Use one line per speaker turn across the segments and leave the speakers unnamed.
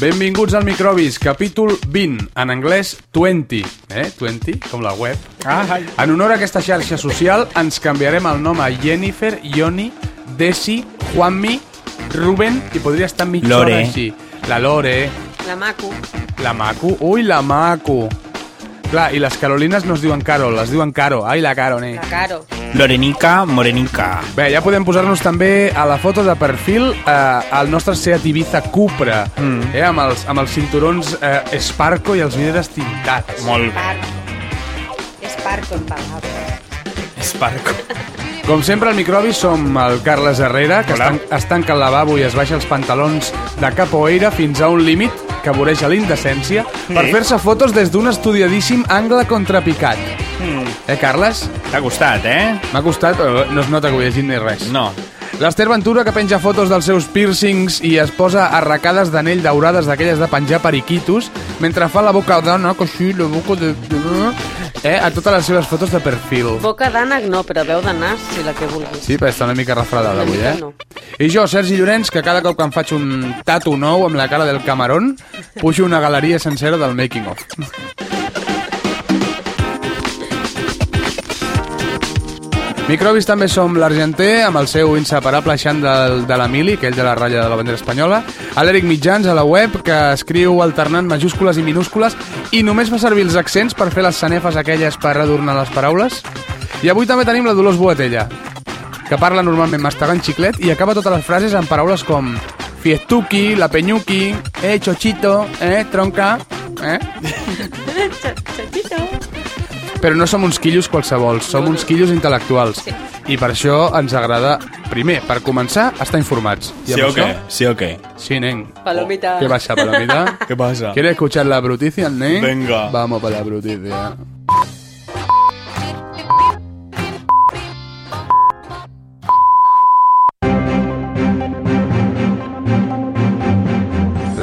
Benvinguts al Microbis, capítol 20, en anglès 20, eh? 20, com la web.
Ah,
En honor a aquesta xarxa social ens canviarem el nom a Jennifer, Ioni, Desi, Juanmi, Ruben i podria estar mitja
Lore.
hora així. La Lore,
La maco.
la Maco, ui, la Maco. Clar, i les Carolines no es diuen Carol, es diuen Caro. Ai, la Caro, ne.
La caro.
Lorenica, Morenica.
Bé, ja podem posar-nos també a la foto de perfil eh, al nostre Seat Ibiza Cupra, mm. eh, amb, els, amb els cinturons eh, Esparco i els vidres tintats.
Molt bé.
Parco. És parco en palabras.
Esparco.
Com sempre, al microbi som el Carles Herrera, que
Hola.
estan, es tanca el lavabo i es baixa els pantalons de capoeira fins a un límit que voreja l'indecència per
Sí.
fer-se fotos des d'un estudiadíssim angle contrapicat.
Mm.
Eh, Carles?
T'ha gustat, eh?
M'ha costat, però no es nota que ho he llegit ni res.
No.
L'Ester Ventura, que penja fotos dels seus piercings i es posa arracades d'anell daurades d'aquelles de penjar periquitos, mentre fa la boca d'ana, que així, la boca de... Eh, a totes les seves fotos de perfil.
Boca d'ànec no, però veu de nas, si la que vulguis.
Sí, però està una mica refredada
Una
avui,
mica
eh?
no.
I jo, Sergi Llorenç, que cada cop que em faig un tatu nou amb la cara del Camarón, pujo una galeria sencera del Making of. Microbis també som l'argenter, amb el seu inseparable xandall de l'Emili, aquell de la ratlla de la bandera espanyola, a l'Eric Mitjans, a la web, que escriu alternant majúscules i minúscules i només fa servir els accents per fer les sanefes aquelles per adornar les paraules. I avui també tenim la Dolors Boatella, que parla normalment mastegant xiclet i acaba totes les frases amb paraules com fiestuki, la penyuki, eh, chochito, eh, tronca, eh?
Xachito.
Però no som uns quillos qualsevol, som uns quillos intel·lectuals.
Sí.
I per això ens agrada, primer, per començar, estar informats. I
Sí
amb
o què?
això-
Sí o què?
Sí, nen.
Palomita.
Què passa, Palomita?
Què passa?
¿Quieres escuchar la bruticia, nen?
Venga.
Vamos para la bruticia.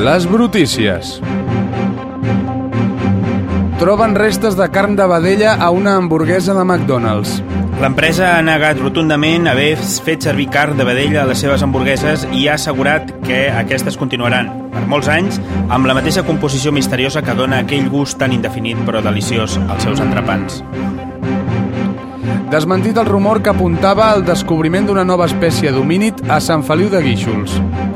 Les brutícies. Troben restes de carn de vedella a una hamburguesa de McDonald's.
L'empresa ha negat rotundament haver fet servir carn de vedella a les seves hamburgueses i ha assegurat que aquestes continuaran, per molts anys, amb la mateixa composició misteriosa que dona aquell gust tan indefinit però deliciós als seus entrepans.
Desmentit el rumor que apuntava al descobriment d'una nova espècie d'homínid a Sant Feliu de Guíxols.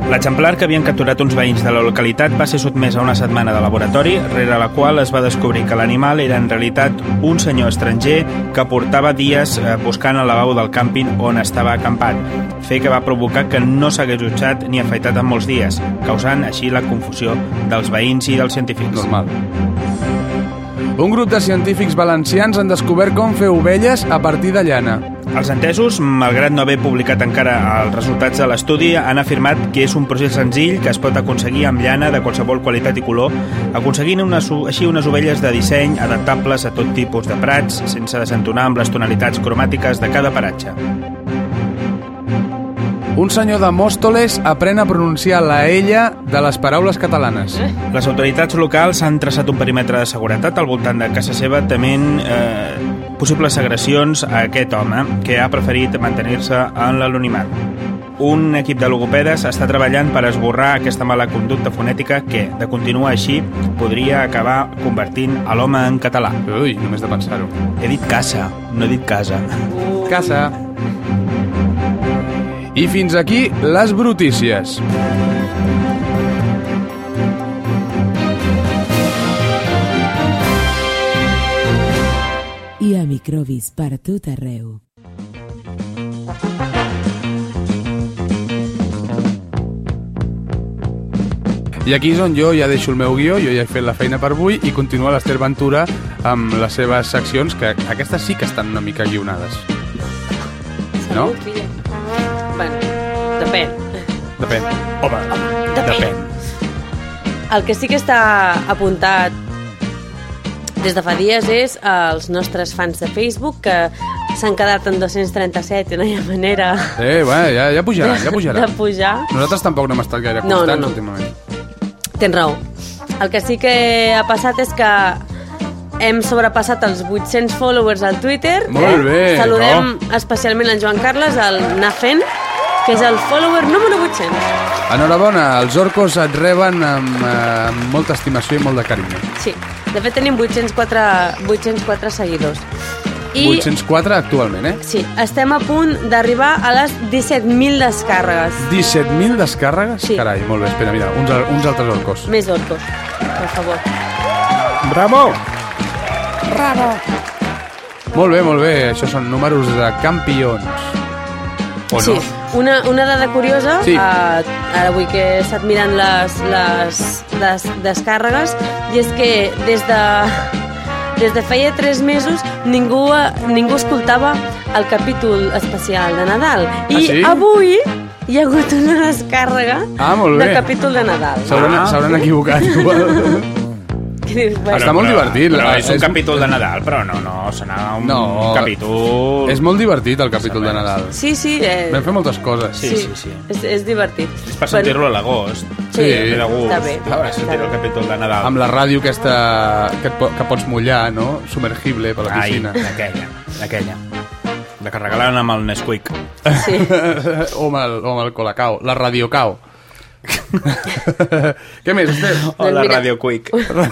L'exemplar que havien capturat uns veïns de la localitat va ser sotmès a una setmana de laboratori, rere la qual es va descobrir que l'animal era en realitat un senyor estranger que portava dies eh, buscant el lavabo del càmping on estava acampat, fer que va provocar que no s'hagués dutxat ni afaitat en molts dies, causant així la confusió dels veïns i dels científics.
Normal. Un grup de científics valencians han descobert com fer ovelles a partir de llana.
Els entesos, malgrat no haver publicat encara els resultats de l'estudi, han afirmat que és un procés senzill que es pot aconseguir amb llana de qualsevol qualitat i color, aconseguint unes, o- així unes ovelles de disseny adaptables a tot tipus de prats, sense desentonar amb les tonalitats cromàtiques de cada paratge.
Un senyor de Mòstoles aprèn a pronunciar la ella de les paraules catalanes.
Les autoritats locals han traçat un perímetre de seguretat al voltant de casa seva tement eh, possibles agressions a aquest home, que ha preferit mantenir-se en l'anonimat. Un equip de logopedes està treballant per esborrar aquesta mala conducta fonètica que, de continuar així, podria acabar convertint a l'home en català.
Ui, només de pensar-ho.
He dit casa, no he dit casa.
Casa. I fins aquí les brutícies.
i a microbis per tot arreu.
I aquí és on jo ja deixo el meu guió, jo ja he fet la feina per avui i continua l'Ester Ventura amb les seves seccions, que aquestes sí que estan una mica guionades. No?
Salut, filla. Bueno, depèn.
Depèn. Home,
Depèn. El que sí que està apuntat des de fa dies és als nostres fans de Facebook que s'han quedat en 237 i no hi ha manera
Eh, bueno, ja, ja pujaran, ja
de
pujaran.
pujar.
Nosaltres tampoc no hem estat gaire
No,
constants
no, no.
últimament.
Tens raó. El que sí que ha passat és que hem sobrepassat els 800 followers al Twitter. eh?
Molt bé,
Saludem especialment en Joan Carles, el Nafen, que és el follower número 800.
Enhorabona, els orcos et reben amb, eh, amb molta estimació i molt de carinyo.
Sí, de fet tenim 804, 804 seguidors. I
804 actualment, eh?
sí, estem a punt d'arribar a les 17.000 descàrregues.
17.000 descàrregues?
Sí.
Carai, molt bé, espera, mira, uns, al- uns altres orcos.
Més orcos, per favor.
Bravo!
Molt bé, molt bé, això són números de campions. O
sí,
no?
una, una dada curiosa,
Sí.
eh, ara avui que he estat mirant les, les, les descàrregues, i és que des de, des de feia tres mesos ningú, eh, ningú escoltava el capítol especial de Nadal. I
Ah, sí?
avui hi ha hagut una descàrrega
Ah, molt bé.
del capítol de Nadal.
S'hauran
Ah.
s'hauran equivocat. igual.
Que dius, bueno,
Està molt divertit,
Però
la-
és un
és-
capítol de Nadal, però no, no, serà un
No,
capítol...
És molt divertit el capítol de Nadal.
Sí, sí. Eh,
Vam fer moltes coses.
Sí, sí, sí.
És, és divertit.
És per sentir-lo a l'agost.
Sí,
Ve de gust.
està bé.
Per sentir el capítol de Nadal.
Amb la ràdio aquesta que, et po que pots mullar, no? Submergible per la
Ai,
piscina.
aquella, aquella.
Doncs
La que regalaven amb el Nesquik.
Sí.
o, amb el, o amb el colacao. La radiocao. Què més, Esther?
O
Doncs
la
mira.
Radio Quick.
la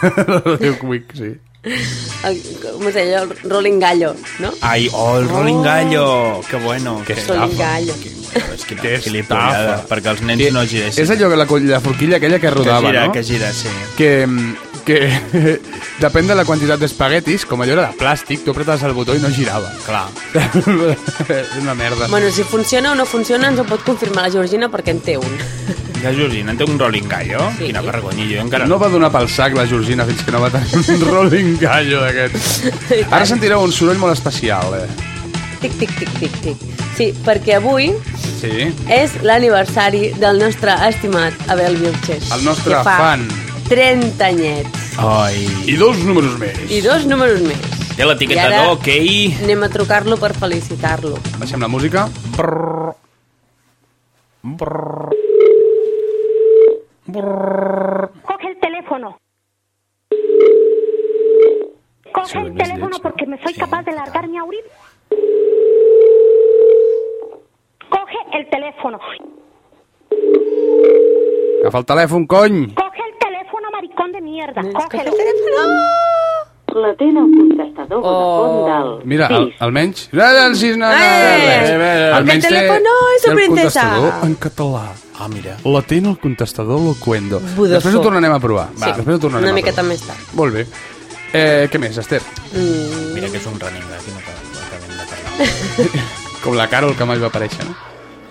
radio quick, sí.
El, com es deia? El Rolling Gallo, no?
Ai, oh, el Rolling Gallo! Que bueno. Que
Ah,
Rolling Gallo.
És que no, gilipollada. Perquè els nens no giressin.
És allò que la, coll- la forquilla aquella que
que
rodava,
gira,
no?
que gira, sí.
que, mm, que depèn de la quantitat d'espaguetis, com allò era de plàstic, tu apretaves el botó i no girava.
Clar.
És una merda.
Bueno, si funciona o no funciona ens ho pot confirmar la Georgina perquè en té un.
Ja, Georgina, en té un Rolling Gallo?
Sí.
Quina vergonya, jo encara
No va donar pel sac la Georgina fins que no va tenir un rolling gallo d'aquest. Ara sentireu un soroll molt especial, eh?
Tic, tic, tic, tic, tic. Sí, perquè avui
Sí.
és l'aniversari del nostre estimat Abel Viatges.
El nostre
que fa
fan.
30 anyets.
Ai.
I dos números més.
I dos números més.
Té l'etiqueta
I ara-
d'hoquei.
Anem a trucar-lo per felicitar-lo.
Baixem la música. Brrr.
Coge el teléfono. Coge el teléfono porque me soy capaz de largar mi aurín. Coge el teléfono.
Agafa el telèfon, cony.
Coge el teléfono, maricón de mierda.
Escolta,
Cógelo.
L'atén el contestador
Oh.
Vodafone del
Mira, al,
sis.
almenys... Ara el sis, no, no,
Eh!
no, no, no.
Porque
Almenys
el
té-
teléfono es
té
su princesa.
El contestador en català. Ah, mira. La té en el contestador locuendo.
Vodafone.
Després ho tornarem a provar. Va,
Sí.
després ho tornarem
Una
a
miqueta
provar.
més tard.
Molt bé. Eh, què més, Esther?
Mira que és un running gag, no cal- acabem de parlar.
Com la Carol que mai va aparèixer, no?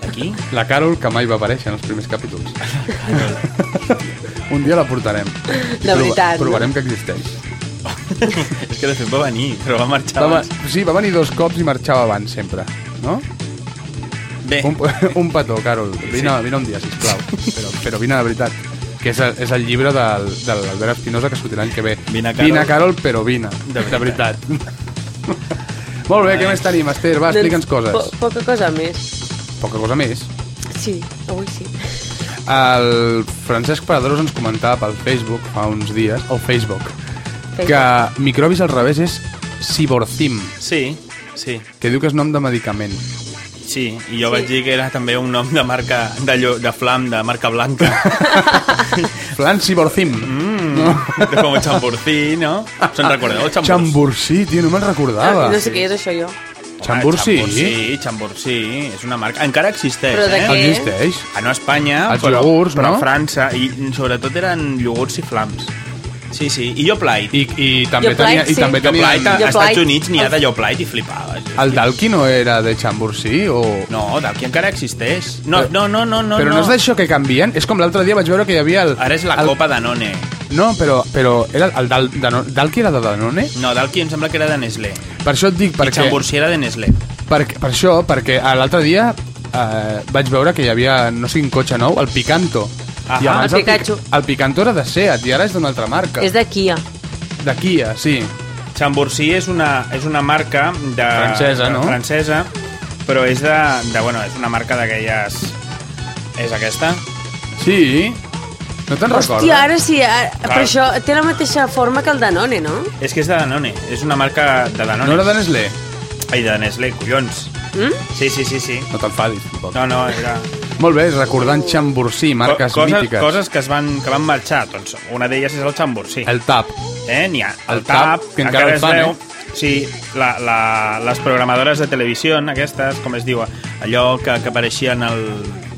Aquí?
La Carol que mai va aparèixer en els primers capítols. Un dia la portarem.
De veritat, no?
Provarem que existeix.
és que de fet va venir, però va marxar
Va, va,
abans.
sí, va venir dos cops i marxava abans, sempre. No?
Bé,
Un, un petó, Carol. Vine, sí. vine un dia, sisplau. Però, però vine de veritat. Que és, el- és el llibre del, de l'Albert Espinosa que sortirà l'any que ve.
Vine, Carol.
vine Carol però vine.
De
De veritat. Molt bé, què més tenim, Esther? Va, explica'ns
Doncs Po
coses.
poca cosa més.
Poca cosa més.
Sí, avui sí.
El Francesc Paradós ens comentava pel Facebook fa uns dies, o Facebook, que microbis al revés és ciborcim,
sí, sí,
que diu que és nom de medicament.
sí. I jo
Sí.
vaig dir que era també un nom de marca, de, llo, de flam, de marca blanca.
Plan ciborcim.
Mm, de com el xamporcí, no? Se'n
Ah,
recordeu, el xamporcí?
Chambursí, tio, no me'n recordava.
Ah, no sé què és això jo.
Xamburcí?
Sí, xamporcí, és una marca... Encara existeix,
Però de
eh?
què?
Existeix?
Ah, no a Espanya,
Els
però,
iogurts,
però
no?
a França, i sobretot eren iogurts i flams. Sí, sí, i Yoplait.
I, i també
Jo
tenia...
plec,
I
sí.
també tenia...
Yoplait, a- als
Yoplait.
Estats Units n'hi ha de Yoplait i flipaves.
El Dalki no era de Chambursí o...
No, d'aquí encara existeix. No, no, no, no, no.
però no, és d'això que canvien? És com l'altre dia vaig veure que hi havia el...
Ara és la
el,
copa Danone.
No, però, però era el Dal, Dano, Dalki era de Danone?
No, Dalki em sembla que era de Nestlé.
Per això et dic,
Perquè... I
perquè...
Chambursi era de Nestlé.
Per, per això, perquè a l'altre dia eh, vaig veure que hi havia, no sé quin cotxe nou, el Picanto.
Ah,
I abans
el
Pic-
Pikachu.
El Picanto era de Seat i ara és d'una altra marca.
És de Kia.
de Kia, sí.
Chambursi és una, és una marca de...
Francesa, no?
Francesa, però és de... de bueno, és una marca d'aquelles... És aquesta?
Sí. No te'n recordes?
Hòstia, ara sí, ara,
Clar.
però això té la mateixa forma que el Danone, no?
És que és de Danone. És una marca de Danone.
No era de Nestlé?
Ai, de Nestlé, collons.
Mm?
Sí, sí, sí, sí.
No t'enfadis, tampoc.
No, no, era...
Molt bé, recordant Chambursí, marques
coses,
mítiques.
Coses que, es van, que van marxar, doncs una d'elles és el Chambursí.
El tap.
Eh, n'hi ha.
El tap, que encara el fan, eh?
Sí, la, la, les programadores de televisió, aquestes, com es diu, allò que, que apareixien el...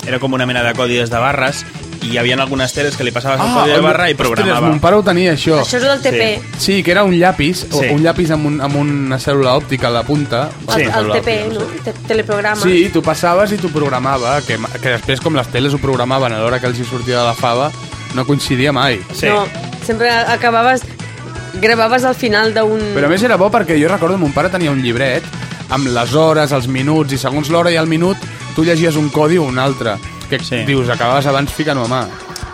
Era com una mena de codis de barres i hi havia algunes teles que li passaves
Ah,
el codi de barra i
Ostres,
programava.
mon pare ho tenia, això.
Això és el TP.
Sí.
Sí, que era un llapis,
Sí.
sí. un llapis amb, un, amb una cèl·lula òptica a la punta.
Sí.
El, el TP, no? Te- Teleprograma.
Sí, tu passaves i t'ho programava, que, ma- que després com les teles ho programaven a l'hora que els hi sortia de la fava, no coincidia mai.
Sí.
No, sempre acabaves... Gravaves al final d'un...
Però a més era bo perquè jo recordo mon pare tenia un llibret amb les hores, els minuts, i segons l'hora i el minut tu llegies un codi o un altre. Que
Sí.
sí. dius, acabaves abans ficant-ho a mà.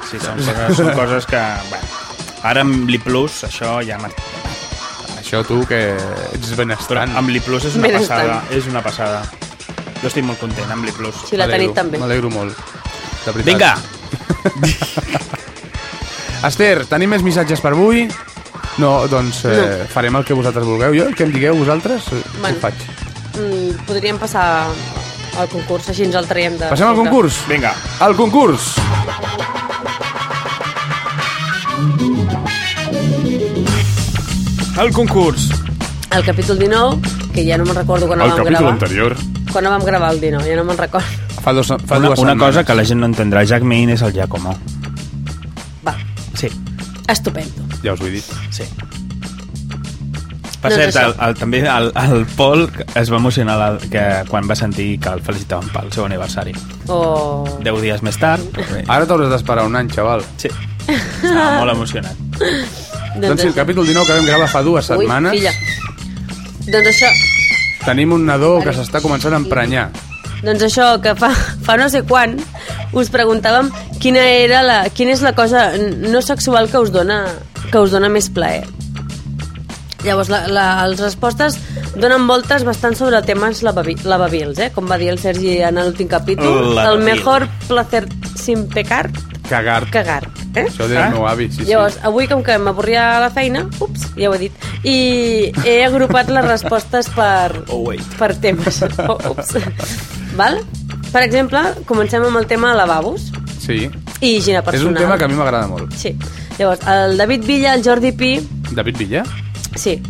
Sí, són coses, són coses que... Bueno, ara amb l'I+, això ja... m'ha-
Això tu que ets
Però
benestant.
amb l'I+, és una
Benestant.
passada. És una passada. Jo estic molt content amb l'I+.
Sí, la
M'alegro,
tenit també.
M'alegro molt. De veritat.
Vinga!
Esther, tenim més missatges per avui? No, doncs eh, no. farem el que vosaltres vulgueu. Jo, el que em digueu vosaltres, eh,
Bueno.
ho faig.
Mm, podríem passar al concurs, així ens el traiem de...
Passem al concurs.
Vinga.
Al concurs.
El concurs.
El capítol 19, que ja no me'n recordo quan el, vam gravar.
anterior.
Quan el vam gravar el 19, ja no me'n recordo.
Fa, dos, fa
Una,
dues
una
setmanes.
cosa que la gent no entendrà. Jack Maine és el Giacomo.
Va,
Sí,
estupendo.
Ja us ho he dit.
sí. Per
Doncs
cert,
això.
el, el, també el, el Pol es va emocionar la, que, quan va sentir que el felicitaven pel seu aniversari.
O...
Deu dies més tard. Però bé.
Ara t'hauràs d'esperar un any, xaval.
Doncs
Sí. Estava molt emocionat.
Doncs sí, el capítol 19 que vam gravar fa dues
Ui,
setmanes,
filla. Doncs això,
tenim un nadó que s'està començant a emprenyar.
doncs això que fa, fa no sé quan us preguntàvem quina, era la, quina és la cosa no sexual que us dona, que us dona més plaer. Llavors, la, la, les respostes donen voltes bastant sobre temes lavavi- lavabils, eh? com va dir el Sergi en l'últim capítol.
Lavabil.
El mejor placer sin pecar,
Cagar.
cagar. Eh?
Això ho deia
Ah?
el meu avi, sí, sí.
Llavors, avui, com que m'avorria la feina, ups, ja ho he dit, i he agrupat les respostes per,
Oh, wait.
per temes. Oh, ups. Val? Per exemple, comencem amb el tema lavabos
Sí.
i higiene
És
personal.
un tema que a mi m'agrada molt.
Sí. Llavors, el David Villa, el Jordi Pi,
David Villa?
sí,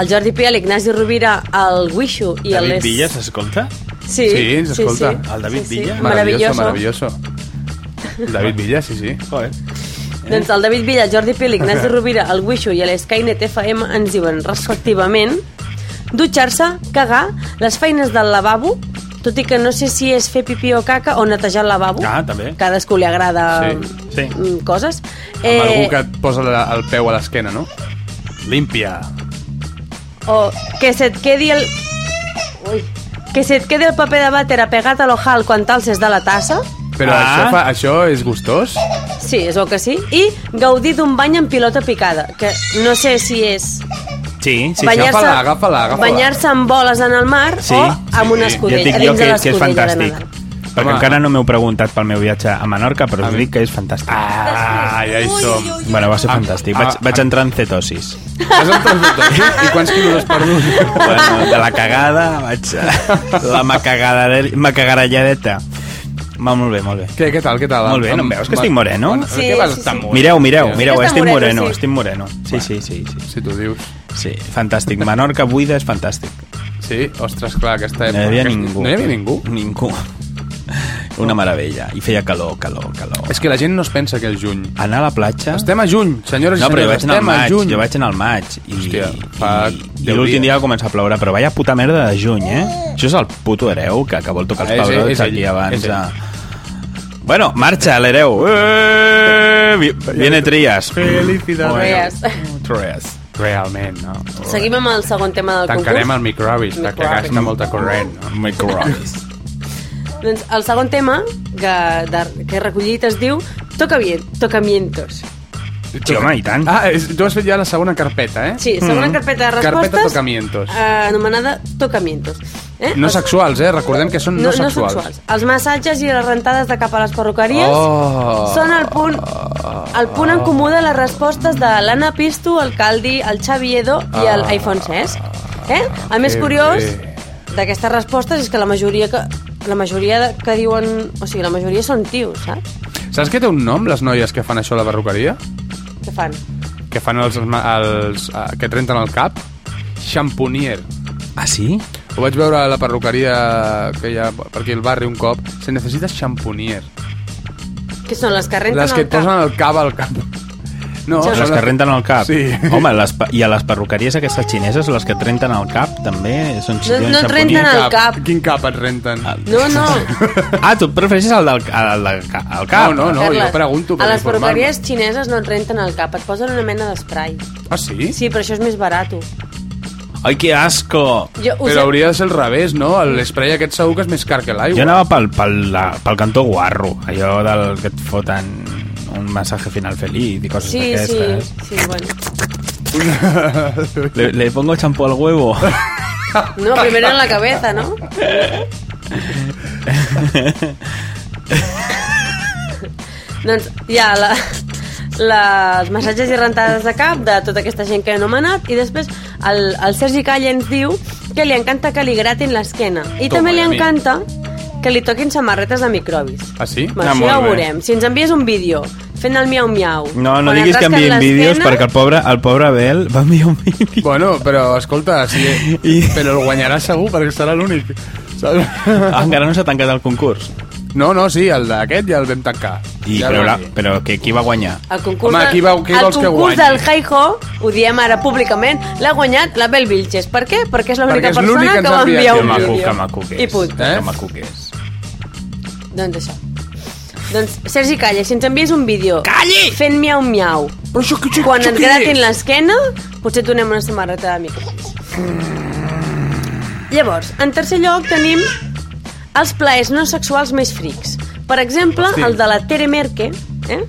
el Jordi Pi, l'Ignasi Rovira, el Guixo i el...
David
Les-
Villa s'escolta?
Sí,
Sí, ens escolta.
El David Villa?
Maravilloso,
Maravilloso.
maravilloso. El David Villa, sí, sí.
Joder.
Eh?
Doncs el David Villa, el Jordi Pil, l'Ignasi Rovira, el Guixo i l'Skynet FM ens diuen, respectivament, dutxar-se, cagar, les feines del lavabo, tot i que no sé si és fer pipí o caca o netejar el lavabo.
Ah, també.
Cadascú li agrada
Sí,
sí.
mm, coses.
Amb algú que et posa la, el peu a l'esquena, no? Límpia.
O que se't quedi el... Ui. Que se't quedi el paper de vàter apegat a l'ojal quan talses de la tassa.
Però
Ah.
ah. això, fa, això és gustós?
Sí, és el que sí. I gaudir d'un bany amb pilota picada, que no sé si és
Sí, sí,
Banyar-
sí.
Banyar-se
agafa-la, agafa-la, agafa-la.
banyar-se amb boles en el mar
Sí,
o amb un escudell,
Ja
a
et dic jo
dins de
que, que és
l'escudella de
fantàstic.
Nadal.
Perquè
Home.
encara no m'heu preguntat pel meu viatge a Menorca, però us dic que és fantàstic.
Ah, ja hi som.
Bueno, va ser
Ah,
fantàstic.
ah,
Vaig,
ah.
vaig entrar en cetosis.
Has entrat tot, eh? I quants quilos has perdut?
Bueno, de la cagada vaig... La macagada- macagaralladeta. Va, molt bé, molt bé.
Què, què tal, què tal?
Molt bé, no em veus que estic moreno?
Sí,
què vas
sí,
tan
sí.
moreno?
Mireu, mireu, mireu,
Sí, està
estic
moreno,
moreno,
sí.
estic moreno. Sí, sí, sí, sí.
Si tu dius.
Sí, fantàstic. Menorca buida és fantàstic.
Sí, ostres, clar, aquesta època...
No hi havia
aquest-
ningú.
Eh, No hi havia ningú.
Ningú. Una meravella. I feia calor, calor, calor.
És que la gent no es pensa que és juny.
Anar a la platja...
Estem a juny, senyores i
No, però jo
senyors,
vaig anar al
estem a
maig,
juny.
jo vaig anar al maig i,
Hòstia, fa
i, i
deu dies.
l'últim dia va començar a ploure, però vaya puta merda de juny, eh?
Oh.
Això és el puto hereu que, que vol tocar
Ah,
els
és ell,
pebrots
és ell,
aquí
és
abans
ell.
de... Bueno, marxa l'hereu. Eh, vi- Viene Trias.
Felicidades.
Trias.
Trias.
Realment, no?
Seguim amb el segon tema del
Tancarem el
concurs.
microbis, perquè
Microbis.
gasta molta corrent. No?
Microbis.
El... Doncs el segon tema que, de, que he recollit es diu Toca bien, tocamientos.
Sí, home, i tant.
Ah, és, tu has fet ja la segona carpeta, eh?
Sí,
Mm.
segona carpeta de
Carpeta
respostes.
tocamientos.
Eh, anomenada tocamientos. Eh?
No
Els-
sexuals, eh? Recordem que són no,
no
sexuals.
sexuals. Els massatges i les rentades de cap a les perruqueries
Oh.
són el punt, el punt en comú de les respostes de l'Anna Pisto, el Caldi, el Xavi Edo i el Ai Francesc. Eh? El més
Ah. que
curiós
bé.
d'aquestes respostes és que la majoria que la majoria de- que diuen... O sigui, la majoria són tios, saps?
Saps que té un nom, les noies que fan això a la perruqueria?
Què fan?
Que fan els... els eh, que trenten el cap? Champonier.
Ah, sí?
Ho vaig veure a la perruqueria que hi ha per aquí al barri un cop. Se necessita champonier.
Què són, les que renten
Les que
el
et posen el cap al cap. No,
Oh,
són
les que renten el cap.
Sí.
Home, les, pa- i a les perruqueries aquestes xineses, les que et renten el cap, també són
No- no et
xamponies.
renten el cap.
Quin cap et renten?
Ah,
No, no.
Ah, tu prefereixes el del el, del ca- el cap?
No, no,
Carles,
jo pregunto per
A les
informar-me.
perruqueries xineses no et renten el cap, et posen una mena d'esprai.
Ah, sí?
Sí, però això és més barat.
Ai, que asco!
Jo, us
Però hauria de ser al revés, no? L'espray aquest segur que és més car que
Jo
l'aigua.
anava pel, pel, la, pel cantó guarro, allò del que et foten un massatge final feliç i coses
Sí, sí,
d'aquestes.
sí, bueno.
Le, le pongo champú al huevo.
No, primero en la cabeza, ¿no? doncs hi ha la, la, els massatges i rentades de cap de tota aquesta gent que he anomenat i després el, el Sergi Calla ens diu que li encanta que li gratin l'esquena i
Toma,
també li
ja, amic.
encanta que li toquin samarretes de microbis.
Ah, sí?
Bé,
Ah,
això
molt
ja ho
bé.
veurem. Si ens envies un vídeo fent el miau-miau...
No,
quan
no
et
diguis que
rasquen
enviïn vídeos
l'esquena-
perquè el pobre, el pobre Abel va enviar un vídeo.
Bueno, però escolta, sí,
I-
però el guanyarà segur perquè serà l'únic. saps?
Ah, encara no s'ha tancat el concurs.
No, no, sí, el d'aquest ja el vam tancar.
I,
ja
però,
el
la,
vam dir.
però que, qui va guanyar?
El concurs,
Home,
del-
qui veu- qui
el
vols que
concurs
guanyi?
del Hi-Ho, ho diem ara públicament, l'ha guanyat la Bel Vilches. Per què? Perquè és l'única
Perquè és l'única que
persona que,
ens ha
va
enviat.
enviar
Que
un
maco,
vídeo.
que maco que és.
I put.
Eh?
Que maco que és.
Doncs això. Doncs, Sergi Calla, si ens envies un vídeo Calli! fent miau-miau,
Però això, que,
quan
això
et
què
gratin
és?
l'esquena, potser et donem una samarreta de microbis. Llavors, en tercer lloc tenim els plaers no sexuals més frics. Per exemple,
Hosti.
el de la Tere Merke, eh?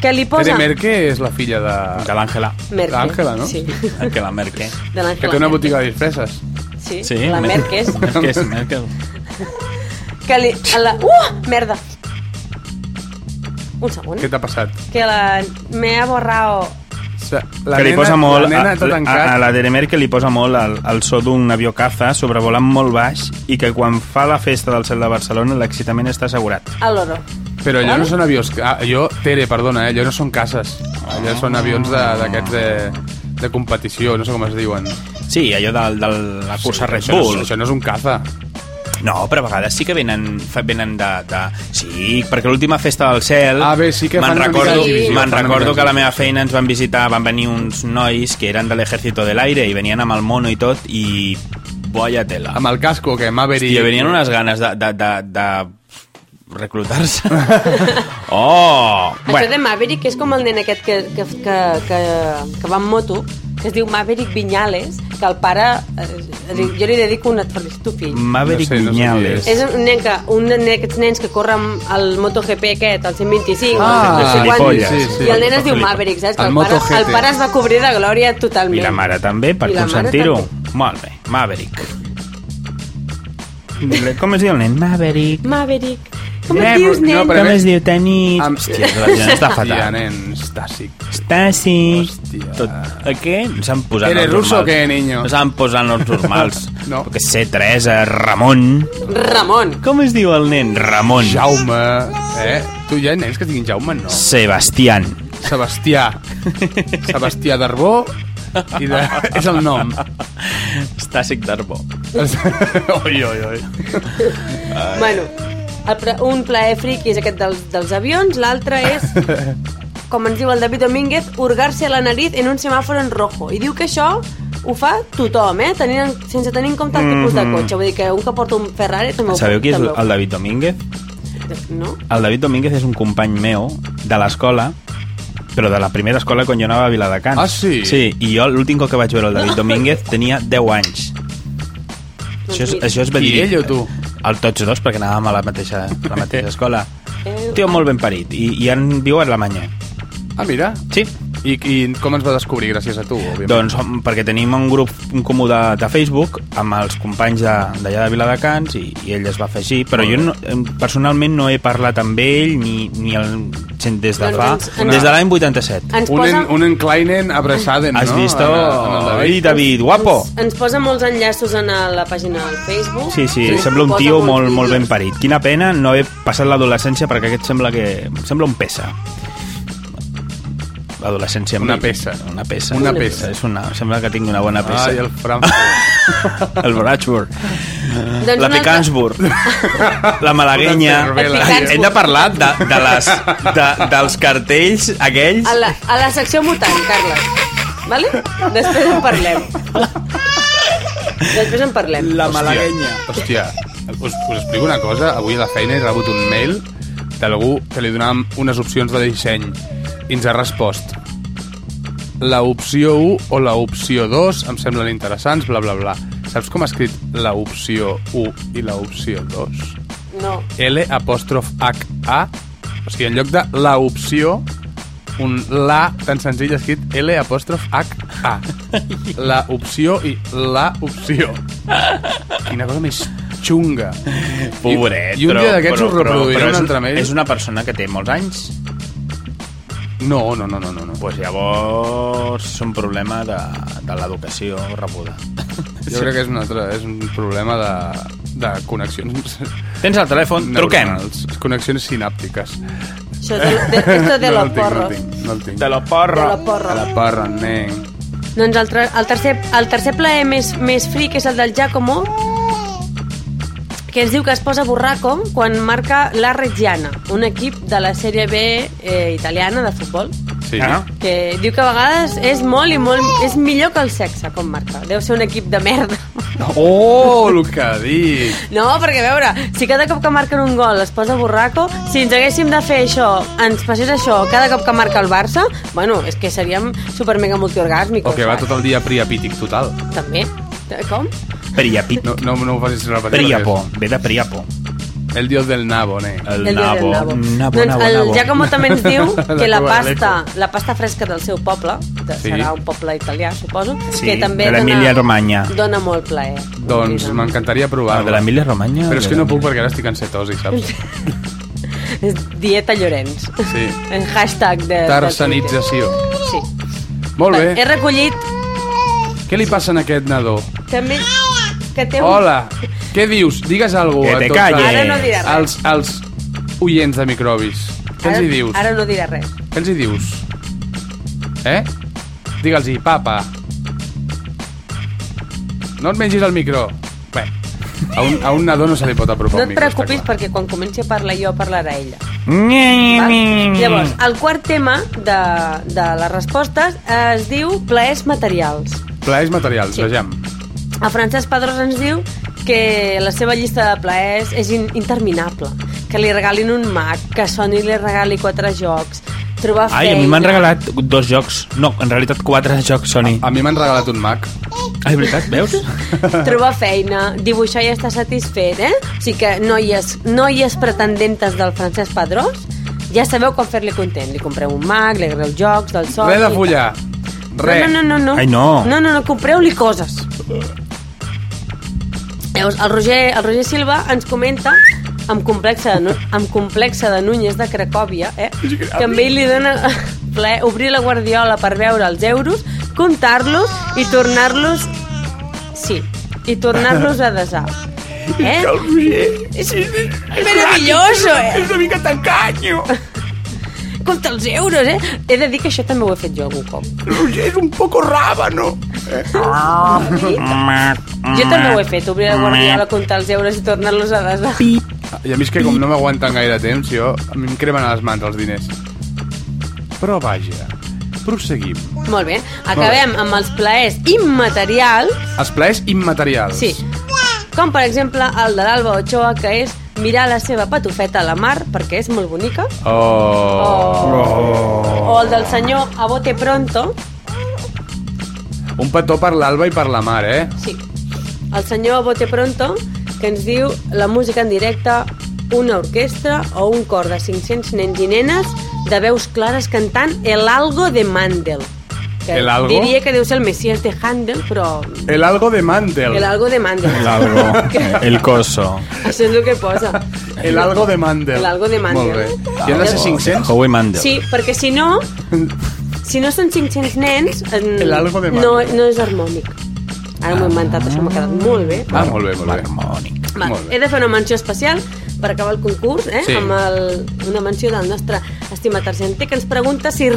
que li posa...
Tere Merke és la filla de...
De l'Àngela.
Merkel.
D'Àngela, no?
Sí.
Àngela Merkel.
De l'Àngela
Que té una
Merkel.
botiga de disfresses.
Sí, sí la Merkel.
Merkel, Merkel.
Que li, a la... Uh! Merda! Un segon.
Què t'ha passat?
Que la... Me ha borrado...
Se- La
que li posa molt,
la nena t'ha
a, a,
tancat.
a la Tere Merkel li posa molt el, el so d'un avió caza sobrevolant molt baix i que quan fa la festa del cel de Barcelona l'excitament està assegurat.
El loro.
Però allò no són avions... Ah, allò, Tere, perdona, eh? allò no són cases. Allò
Ah.
són avions de- d'aquests de, de, de competició, no sé com es diuen.
Sí, allò de, de la cursa sí, Red
Això no,
Bull.
és- això no és un caza.
No, però a vegades sí que venen, fa- venen de, de... Sí, perquè l'última festa del cel...
Ah, bé, sí que fan
me'n
una mica
recordo,
de divisió,
Me'n
fan una mica
recordo
de
que a la
divisió.
meva feina ens van visitar, van venir uns nois que eren de l'exèrcito de l'aire i venien amb el mono i tot i... Boia tela.
Amb el casco, que Maverick...
Hòstia, venien unes ganes de, de, de, de reclutar-se. oh!
Bueno. Això de Maverick és com el nen aquest que, que, que, que, que va amb moto, que es diu Maverick Viñales, que el pare... Eh, diu- jo li dedico una per estúpid.
Maverick
No sé, no sé qui
Viñales.
És un nen que, un nen d'aquests nens que corren al MotoGP aquest, al 125,
Ah,
al no sé quant,
sí, sí, sí.
i el nen es diu
Gilipolles.
Maverick, saps?
El
Que el, pare,
MotoGP.
el pare es va cobrir de glòria totalment.
I la mare també, per
I la mare
consentir-ho.
també.
Molt bé, Maverick. Com es diu el nen? Maverick.
Maverick. Com
Eh,
et dius,
no,
nen?
però-
Com es diu tenis?
Amb-
Hòstia, la gent està
Hòstia,
fatal.
nen, estàsic.
Stasi.
Hòstia.
Tot. A què? No s'han posat
Eres
noms
ruso
normals.
o què, niño?
No s'han posat noms normals.
No.
Que sé, Teresa, Ramon...
Ramon.
Com es diu el nen? Ramon.
Jaume... Eh? Tu hi ha nens que es diguin Jaume, no?
Sebastián.
Sebastià. Sebastià d'Arbó i de... és el nom.
Estàsic d'Arbó.
oi, oi, oi.
Bueno, el, pla- un plaer friqui és aquest dels, dels avions, l'altre és, com ens diu el David Domínguez, hurgar-se la nariz en un semàfor en rojo. I diu que això ho fa tothom, eh? Tenint, en- sense tenir en compte el tipus de cotxe. Vull dir que un que porta un Ferrari també ho
Mhm. Sabeu qui és
també ho-
el David Domínguez?
No?
El David Domínguez és un company meu de l'escola, però de la primera escola quan jo anava a Viladecans.
Ah, sí?
Sí, i jo l'últim cop que vaig veure el David Domínguez tenia 10 anys. Això és,
mira.
això és
Qui,
verídic.
ell o tu?
El tots dos, perquè anàvem a la mateixa, a la mateixa escola.
Eh,
Un tio molt ben parit, i, i en viu a Alemanya.
Ah, mira.
Sí,
I, I com ens va descobrir gràcies a tu, òbviament?
Doncs hom, perquè tenim un grup un comú de, de Facebook amb els companys de- d'allà de, de Viladecans i, i ell es va afegir, però jo no, em, personalment no he parlat amb ell ni, ni el, sent des de
Doncs
fa...
ens- ens-
Des de l'any 87.
Ens
un,
posa,
en, un enclinen abraçaden,
Has
Ah, no?
vist?
En- en el
Oh,
David.
Ei, David, guapo!
ens posa molts enllaços en la pàgina del Facebook.
Sí, sí,
Ens
sembla un
posa
tio
molts
molt, molt ben
vídeos.
parit. Quina pena no he passat l'adolescència perquè aquest sembla que... Sembla un peça. L'adolescència amb
Una
ell.
peça.
Una peça.
Una peça.
És una, sembla que tingui una bona peça.
Ai, el Frankfurt.
el Bratschburg,
Doncs
la
un altre-
Picansburg, la Malaguenya...
Una cervela.
Picansburg.
Hem de parlar de, de les, de, dels cartells aquells...
A la, a la secció mutant, Carles. Vale? Després en parlem. Després en parlem.
La
Hòstia, us, us explico una cosa. Avui a la feina he rebut un mail d'algú que li donàvem unes opcions de disseny i ens ha respost la opció 1 o la opció 2 em semblen interessants, bla, bla, bla. Saps com ha escrit la opció 1 i la opció 2?
No.
L apòstrof H A o sigui, en lloc de la opció un la tan senzill escrit L apòstrof H A la opció i la opció quina cosa més xunga
Pobret,
i, i un
però-
dia d'aquests us
però- però-
reproduiré
però
un
és
altre mail
És una persona que té molts anys.
no, no, no, no, no, no.
Pues llavors és un problema de, de l'educació rebuda.
jo crec que és un altre és un problema de, de connexions
Tens el telèfon? Truquem.
neuronals, connexions sinàptiques
Això de, de, esto de
no
los
el tinc, no el
porros.
tinc, no el tinc.
De la porra.
De la porra.
De la porra, nen
Doncs el, tra- el, tercer, el tercer plaer més, més fric és el del Giacomo, que ens diu que es posa borraco quan marca la Reggiana, un equip de la sèrie B eh, italiana de futbol,
sí.
Ah.
que diu que a vegades és molt i molt... és millor que el sexe, com marca. Deu ser un equip de merda.
Oh, el que ha dit!
No, perquè a veure, si cada cop que marquen un gol es posa borraco, si ens haguéssim de fer això, ens passés això cada cop que marca el Barça, bueno, és que seríem supermega multiorgàsmicos.
O que va
saps?
tot el dia priapític total.
També. Com?
Priapit.
No, no, no ho facis repetir.
Priapo. Ve de Priapo.
perquè és El dios del nabo, ne.
El,
Del dia
nabo.
del
Nabo, nabo,
doncs el
nabo.
Giacomo també ens diu que la
La
pasta,
Cobaleta.
la pasta fresca del seu poble, que
Sí.
serà un poble italià, suposo,
Sí,
que també
de l'Emília Romagna.
dona molt plaer.
Doncs
Dona.
m'encantaria
Ah,
provar-ho.
de l'Emília Romagna?
Però és que
de
no
la-
puc perquè ara estic en cetosi, saps?
És Dieta Llorenç.
Sí.
El hashtag de...
Tarsanització.
de Twitter. Sí.
Molt
He
bé.
recollit
Què li passa a aquest nadó?
també que té un...
Hola, què dius? Digues alguna
Que
cosa
te
a tots
calles.
Ara no diré res.
els, els, els oients de microbis. Què els
Ara,
hi dius?
ara no diré res.
Què els hi dius? Eh? Digue'ls-hi, papa. No et mengis el micro. Bé, a un, a un nadó no se li pot apropar
No
un
et
micro, està
preocupis
clar.
perquè quan comenci a parlar jo parlarà ella.
Nye,
Val?
nye, nye.
Llavors, el quart tema de, de les respostes eh, es diu plaers materials.
Plaers materials,
Sí.
sí. vejam.
El Francesc Pedrós ens diu que la seva llista de plaers és in interminable. Que li regalin un Mac, que Sony li regali quatre jocs, trobar feina...
Ai, a mi m'han regalat dos jocs. No, en realitat quatre jocs, Sony.
Ah,
A mi m'han regalat un Mac.
Ai, veritat, veus?
Trobar feina, dibuixar i estar satisfet, eh? O sigui que noies, noies pretendentes del Francesc Pedrós, ja sabeu com fer-li content. Li compreu un Mac, li agreu jocs, del sol...
Re de follar. Re.
No, no, no, no.
Ai, no.
No, no, no, compreu-li coses. Llavors, el Roger, el Roger Silva ens comenta amb complexa de, Nu- amb complexa de Núñez de Cracòvia, eh? que a ell li dona ple obrir la guardiola per veure els euros, comptar-los i tornar-los... Sí, i tornar-los a desar. Eh? És, és meravilloso, eh?
una mica tancanyo.
Compta els euros, eh? He de dir que això també ho he fet jo algun cop.
Roger és un poco rábano.
Ah, Jo també ho he fet, obrir la guardiola, comptar els euros i tornar-los a desar.
I a mi és que com no m'aguanten gaire temps, jo, a mi em cremen a les mans els diners. Però vaja, prosseguim.
Molt bé, acabem amb els plaers immaterials,
Els plaers immaterials.
sí, com per exemple el de l'Alba Ochoa, que és mirar la seva patufeta a la mar, perquè és molt bonica,
Oh.
o el del senyor a bote pronto,
Un petó per l'alba i per la mar, eh?
sí, el senyor a bote pronto, que ens diu la música en directe, una orquestra o un cor de 500 nens i nenes de veus clares cantant El Algo de Mandel. Que
El Algo?
Diria que deu ser el Messias de Handel, però...
El algo de Mandel.
El Algo de Mandel.
L'algo,
eh,
el coso.
Això és el que posa.
El algo de Mandel.
El algo de Mandel.
Molt bé. I han de ser 500?
Howie Mandel.
Sí, perquè si no... Si no són 500 nens, en-
El algo de
no,
Mandel.
no és harmònic. Ara m'ho he inventat, això m'ha quedat molt bé.
Ah, molt bé, molt bé.
Harmònic.
Val.
Molt bé.
He de fer una menció especial per acabar el concurs, eh?
Sí.
amb el, una menció del nostre estimat argenter que ens pregunta si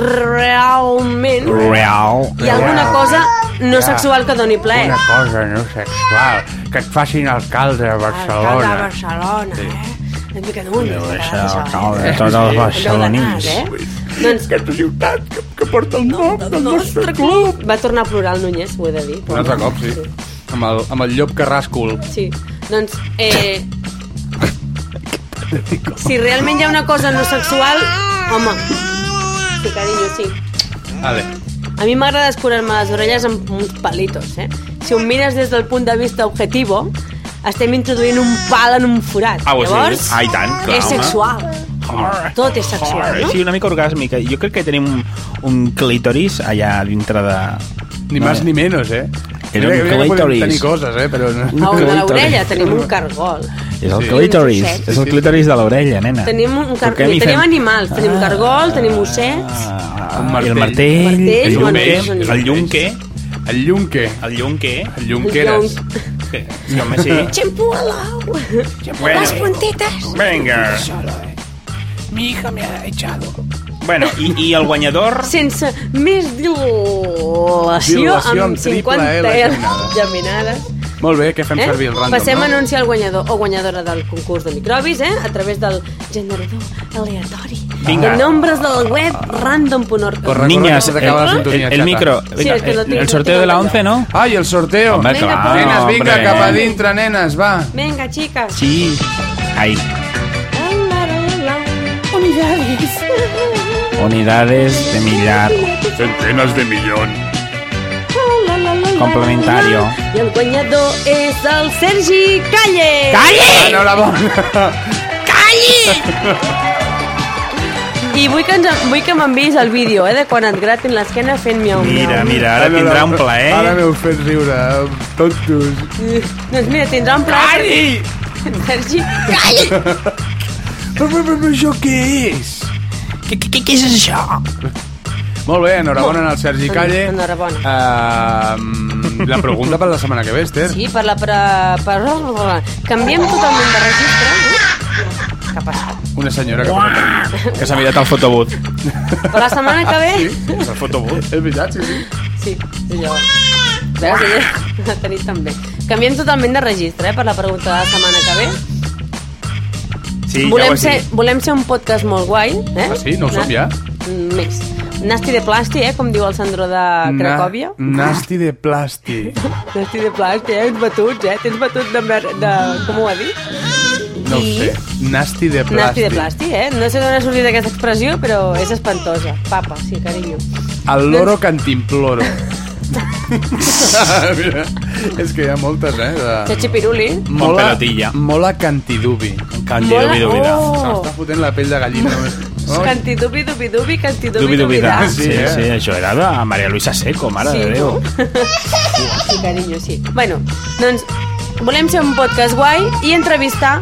realment
Real.
hi ha alguna cosa no sexual que doni plaer.
Una cosa no sexual, que et facin alcalde de
Alcalde de
Barcelona.
Barcelona, eh? Una mica d'ull. eh? Ah,
Tots els
Barcelonins.
barcelonins.
Doncs
Aquesta ciutat que, que porta el nom
el nostre club va tornar a plorar el Núñez, ho he de dir.
Un altre cop, sí. Amb el, amb el llop que rascul.
Sí, doncs... Eh, si realment hi ha una cosa no sexual, home... Sí, carinyo, sí.
Vale.
A mi m'agrada escurar-me les orelles amb uns palitos, eh? Si ho mires des del punt de vista objetivo, estem introduint un pal en un forat.
Ah, ho has dit.
Llavors,
Ah, i tant, clar,
és
home.
sexual. Tot és sexual, no?
Sí, una mica orgàsmica. Jo crec que tenim un, un clítoris allà dintre de...
Ni
No,
més
eh.
ni menos, eh?
Era
Mira
un
que podem
clítoris.
tenir coses, eh? Però
A
no.
on de l'orella tenim un cargol.
És el
Sí.
clítoris.
Sí, sí.
És el clítoris de l'orella, nena.
Tenim, un car...
Toquem i
tenim
fem-
animals, tenim cargol, tenim ossets...
Ah,
Un
i el
martell.
martell,
Martell,
el
bueno,
llunque,
és un-
el llunque,
El llunque.
el llunque,
El llunqueres.
Sí, home, sí.
Xampú a l'au!
Bueno,
Les puntetes!
venga. Mi hija me ha echado. Bueno, i, i el guanyador...
sense més dilació
Dilació
amb
amb triple
50
L
Ls geminades.
Molt bé, què fem
Eh?
servir el random,
Passem
no?
a anunciar el guanyador o guanyadora del concurs de microbis eh? a través del generador aleatori.
Vinga.
De nombres del web random.org.
Correcte.
Niñas,
Recordemos que acaba la
el,
sintonía,
el- el
chata.
micro.
Sí,
Venga,
es que lo
el,
tengo-
el sorteo
tengo
de la
el
11, ¿no?
Ah, i el sorteo.
Hombre,
Venga,
claro,
nenes, vinga,
hombre.
cap a dintre, nenes, va.
Vinga, chicas.
Sí. Ahí.
Unidades.
Unidades de millar.
Centenes de millón.
Complementario.
I el guanyador és el Sergi Calle.
Enhorabona.
I vull que, ens, vull que m'enviïs el vídeo, eh, de quan et gratin l'esquena fent miau miau.
Mira, mira, ara
Enhorabona.
tindrà un plaer.
Ara m'heu fet riure, eh? tontos.
Doncs mira, tindrà un plat... Calli! Sergi, calli!
Però, però, però, això què és?
Què, què, què és això?
Molt bé, enhorabona al Sergi Calle.
Enhorabona.
Uh, la pregunta per la setmana que ve, Esther.
Sí, per la... Per, per, canviem totalment de registre. no? Què ha passat?
Una senyora que... Uah!
Que s'ha mirat al fotobut.
Per la setmana
Ah,
que ve...
El fotobut.
És veritat, sí, sí.
Sí, sí jo. Veus, ella la tenim també. Canviem totalment de registre, eh, per la pregunta de la setmana que ve.
Sí, ja ho
volem,
has
ser,
dit.
volem ser un podcast molt guai, eh?
Ah, sí? No ho som, ja?
Mm, Més. Nasti de plasti, eh? Com diu el Sandro de Cracòvia.
Na Mm. Nasti de plàstic.
Nasti de plasti, eh? Ets batuts, eh? Tens batut de, mer... de... Com ho ha dit?
No ho
I-
sé. Nasti de plàstic.
Nasti de plàstic, eh? No sé d'on ha sortit aquesta expressió, però és espantosa. Papa, sí, carinyo.
El loro cantimploro. Mira, és que hi ha moltes, eh? De...
Chachi Piruli.
Con pelotilla.
Mola cantidubi.
Candido
Mola-
Vidovida.
Oh!
Se m'està fotent la pell de gallina. No?
Cantidubi, dubi, dubi, cantidubi,
Dubi
dubi,
Dubida.
Sí,
Sí,
eh?
sí, això era de Maria Luisa Seco, mare
Sí,
de Déu.
Sí, carinyo, sí. Bueno, doncs volem ser un podcast guai i entrevistar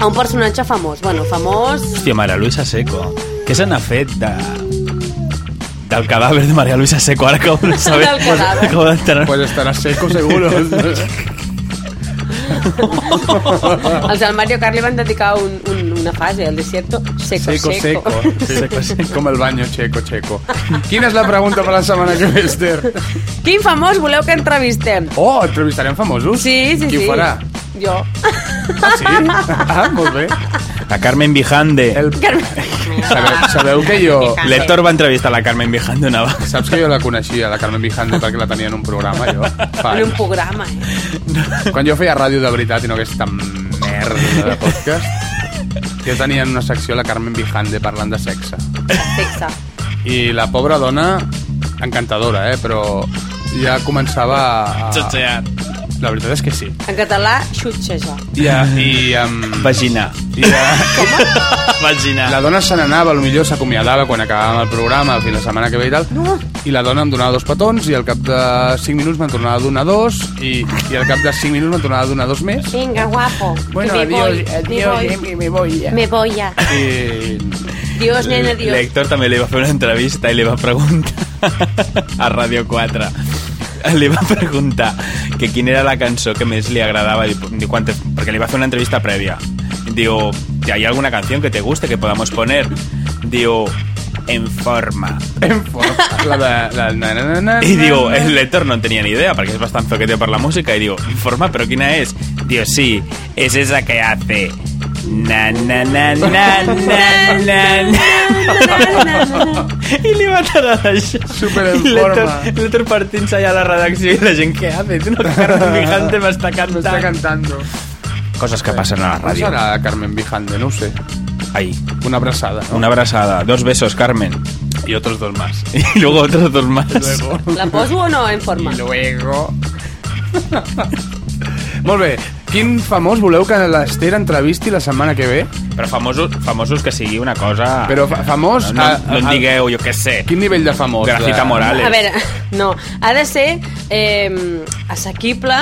a un personatge famós. Bueno, famós...
Hòstia, Maria Luisa Seco. Què se n'ha fet de... del cadàver de Maria Luisa Seco? Ara acabo de saber.
Del cadàver.
Acabo d'entrar.
Pues estarà seco, seguro. Ah.
Els del Mario Kart li van dedicar un, un, una fase, el desierto seco,
seco,
seco.
seco. Com el baño checo, checo. Quina és la pregunta per la setmana que ve, Esther?
Quin famós voleu que entrevistem?
Oh, entrevistarem famosos?
Sí, sí, sí.
Qui ho farà?
Jo.
Ah, sí? Ah, molt bé.
La Carmen Vijande.
El... Sabeu, sabeu que jo...
L'Hector va entrevistar la Carmen Vijande una vegada.
Saps que jo la coneixia, la Carmen Vijande, perquè la tenia en un programa, jo? Fa
En un
anys.
programa, eh?
Quan jo feia ràdio de veritat i no aquesta merda de podcast, jo tenia en una secció la Carmen Vijande parlant de sexe.
Perfecte.
I la pobra dona, encantadora, eh? Però ja començava a,
Xotxeat.
La veritat és que sí.
En català, xutxejar.
I, eh, i, um,
Vaginar.
i eh,
Vaginar.
la dona se n'anava, potser s'acomiadava quan acabàvem el programa, fins la setmana que ve i tal, i la dona em donava dos petons, i al cap de 5 minuts me'n tornava a donar dos, i, i al cap de 5 minuts me'n tornava a donar dos més.
Vinga, guapo.
Bueno,
que me
adiós,
voy,
adiós,
me
eh,
voy.
me, me voy ya.
Me voy ya.
I...
Dios, nena, Dios.
L'Hèctor també li va fer una entrevista i li va preguntar a Radio 4 li va preguntar que quina era la cançó que més li agradava i diu, "¿Cuántas?" perquè li va fer una entrevista prèvia diu, ¿hay alguna canción que te guste que podamos poner? diu, En forma
En forma. La de... La, na, na, na, na,
i diu,
na, na.
el lector no en tenia ni idea perquè és bastant zoquete per la música i diu, "En forma, però quina és? diu, sí, és esa que hace na na na na na na na i li va agradar això.
Súper en
I l'Hector-
forma.
L'Hector partint-se allà a la redacció i la gent, què haces? No, Carmen Vigante
Me está
m'està cantant.
cantando.
Coses que passen a la
Com
ràdio.
Eh, serà Carmen Vijande? No ho sé.
Ai,
Una abraçada, no?
una abraçada. Dos besos, Carmen.
Y otros dos más.
I luego otros dos más.
La poso o no en forma?
Y luego... Molt bé. Quin famós voleu que l'Ester entrevisti la setmana que ve?
Però famosos, famosos que sigui una cosa...
Però fa- famós...
No,
a-
no, no en
a-
digueu, jo què sé.
Quin nivell de famós? Eh,
Gracita
De-
Morales.
A veure, no. Ha de ser eh, assequible...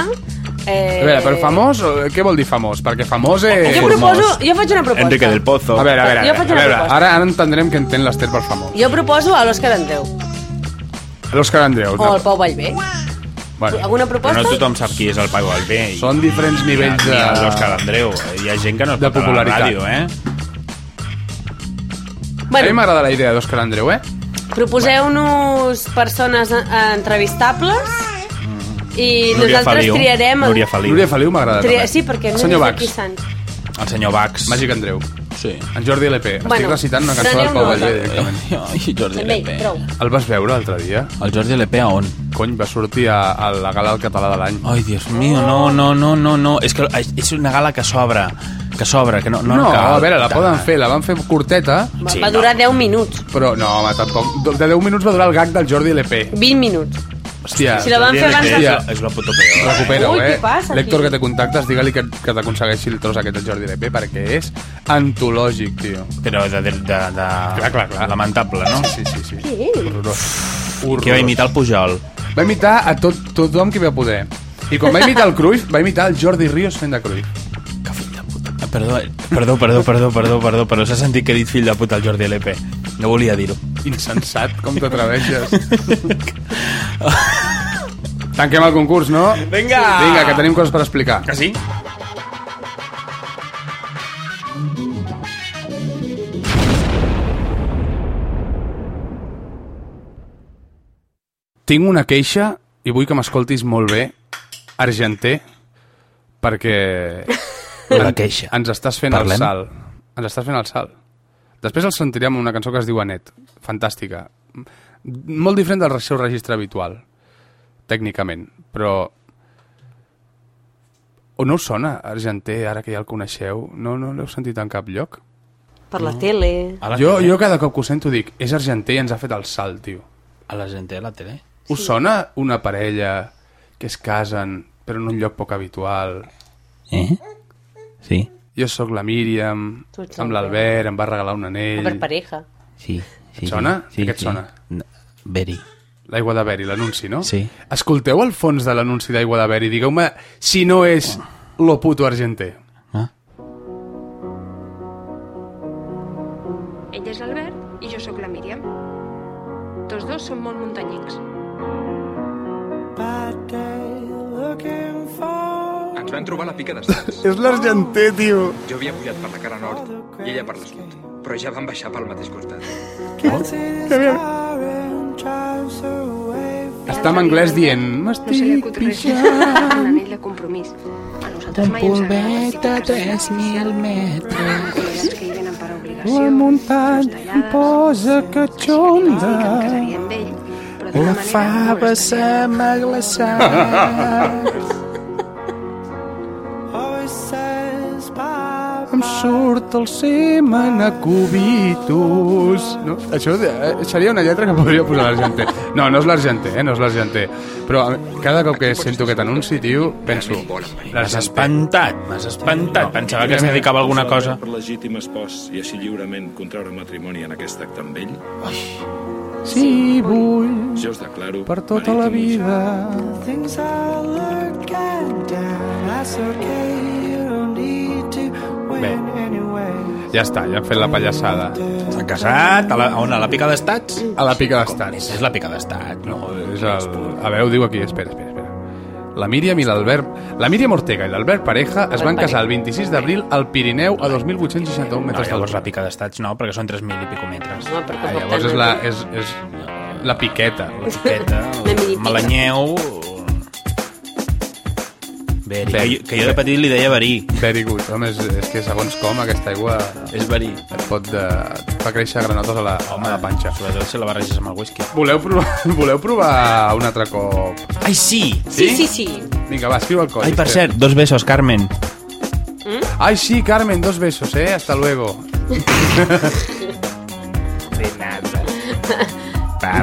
Eh,
A veure, però famós, o- què vol dir famós? Perquè famós és...
Jo proposo... Jo faig una proposta.
Enrique del Pozo.
A veure, a veure,
Jo
a
faig
veure, a
una
veure.
proposta.
Ara, ara entendrem que entén l'Ester per famós.
Jo proposo a l'Òscar Andreu
L'Òscar Andreu.
o al Pau Vallvé.
Bueno,
Alguna
Però
proposta?
no tothom sap qui és el Pago Alpé. i-
són diferents nivells
Ni
de...
a L'Òscar Andreu. Hi ha gent que no es
de
pot a la
popularitat.
ràdio,
A
eh?
mi
Bueno,
m'agrada la idea d'Òscar Andreu, eh?
proposeu-nos persones eh, entrevistables i
Mm. Núria
nosaltres
Feliu.
triarem...
Núria Feliu.
Núria Feliu m'agrada.
Tria...
també.
Sí, perquè no
Senyor
és
Bax,
aquí Sants.
eh? El senyor Bax.
Màgic Andreu.
Sí.
En Jordi LP. Estic
Bueno,
recitant una cançó
preneu
del Pau
nota.
Vallvé directament.
Ai, Jordi
També, prou.
El vas veure l'altre dia?
El Jordi LP a on?
Cony, va sortir a, a la gala del català de l'any.
Ai, Dios mío, no, no, no, no, no. És que és una gala que s'obre, que s'obre, que no, no,
no,
cal.
a veure, la poden fer, la van fer curteta,
Va,
Sí,
va
va.
durar 10 minuts.
però no, home, tampoc. De 10 minuts va durar el gag del Jordi LP.
20 minuts.
Hòstia,
Si la van
Jordi
fer abans
LP
de...
Hòstia.
És la puta peor.
recupera-ho,
Ui,
eh?
què passa aquí?
L'Hèctor, que té contactes, digue-li que, que t'aconsegueixi el tros aquest del Jordi LP, perquè és antològic, tio.
Però de, de, de, de...
Clar, clar, clar.
lamentable, no?
Sí, sí, sí. Horrorós. Horrorós.
Que va imitar el Pujol.
Va imitar a tot, tothom qui va poder. I quan va imitar el Cruyff, va imitar el Jordi Ríos fent de Cruyff.
Que fill de puta. Ah, Perdó, eh? perdó, perdó, perdó, perdó, perdó, però s'ha sentit que he dit fill de puta al Jordi LP. No volia dir-ho.
Insensat, com t'atreveixes. Tanquem el concurs, no?
Vinga!
Vinga, que tenim coses per explicar.
Que sí?
Tinc una queixa i vull que m'escoltis molt bé, argenter, perquè...
La queixa.
Ens estàs fent
Parlem?
el salt. Ens estàs fent el salt. Després el sentirem en una cançó que es diu Anet. Fantàstica. M- Molt diferent del seu registre habitual, tècnicament, però... O no us sona, Argenter, ara que ja el coneixeu? No, no l'heu sentit en cap lloc?
Per la tele.
A la
Jo,
tele.
jo cada cop que ho sento dic, és Argenter i ens ha fet el salt, tio.
A la gent de la tele.
Us sona una parella que es casen però en un lloc poc habitual?
Eh? Sí.
Jo sóc la Míriam,
Tu ets
amb
el
l'Albert, em va regalar un anell...
Per pareja.
Sí. sí
Et sona? sí, Aquest sí. sona.
Beri.
L'aigua de Beri, l'anunci, no?
Sí.
Escolteu el fons de l'anunci d'aigua de Beri. Digueu-me si no és lo puto argenter.
Ah?
Ell és l'Albert i jo sóc la Míriam. Tots dos som molt muntanyencs.
Ens vam trobar a la pica d'estants.
És l'argenter, tio.
Jo havia pujat per la cara nord i ella per la sud, però ja vam baixar pel mateix costat.
Està en anglès dient...
No se li
M'estic
acut res.
pixant.
Un anell de compromís. A nosaltres mai ens agrada. Tan polveta, 3.000 metres. que hi venen per obligació.
La muntanya
Dos tallades,
posa
dos
catxonda.
que em casaria amb ell, però d'una manera no ho estaria.
m'ha glaçat.
Em surt el semen a cubitos. No? Això eh, seria una lletra que podria posar l'argenter. No, no és l'argenter, eh? no és l'argenter. Però a mi, cada cop que sento aquest anunci, tio, penso...
L'has espantat, m'has espantat. Pensava que es dedicava a alguna cosa.
Per legítim espòs i així lliurement contraure matrimoni en aquest acte amb ell,
Sí, vull
jo us declaro...
per tota la
marit i mujer.
vida.
Things I look at down. That's okay, you don't need to win anyway.
Ja està, ja hem fet la pallassada.
S'ha casat? A la, on? A la pica d'estats?
A la pica d'estats.
És la pica d'estat, no?
És el... A veure, ho diu aquí, espera, espera, espera. La Míriam i l'Albert... La Míriam Ortega i l'Albert Pareja es van casar el 26 d'abril al Pirineu a 2.861
No,
metres
llavors la
d'altura.
pica d'estats no, perquè són 3.000 i pico metres.
No, perquè
Ah,
tampoc
llavors
tant,
és la,
eh?
és, és la piqueta.
Peta,
Una mini pica.
Malanyeu... Bé, que,
Verí.
jo- que jo de petit li deia verí.
Very good. Home, és, és que segons com aquesta aigua
És verí.
et pot de, et fa créixer granotes a la, a la panxa.
Sobretot si la barreges amb el whisky.
Voleu provar, voleu provar un altre cop?
Ai, sí!
Sí, sí, sí.
Vinga, va, escriu el codi.
Ai, per
Esther.
cert, dos besos, Carmen.
Ay, sí, Carmen, dos besos, ¿eh? Hasta luego.
Pa,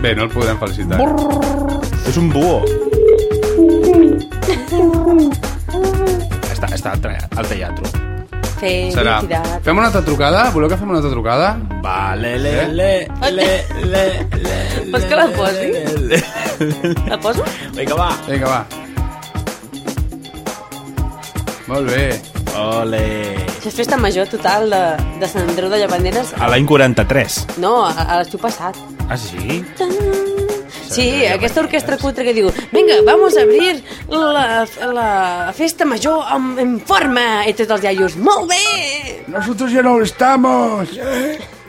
Bé, no el podem felicitar.
És un duo. Està, està al, tra- al teatro.
Eh, Serà.
Felicidad.
Fem una altra trucada? Voleu que fem una altra trucada?
Vale, le, le, le, le, le, le,
Vols que la posi?
le, le.
La poso?
Vinga, va.
Vinga, va. Molt bé.
Ole.
Això és festa major total de, de Sant Andreu de Llavaneres.
A l'any 43.
No, a, a l'estiu passat.
Ah, sí?
Tan. Sí, aquesta orquestra cutre que diu Vinga, vamos a abrir la, la festa major amb, en forma i tots els iaios, molt bé!
Nosotros ya no estamos.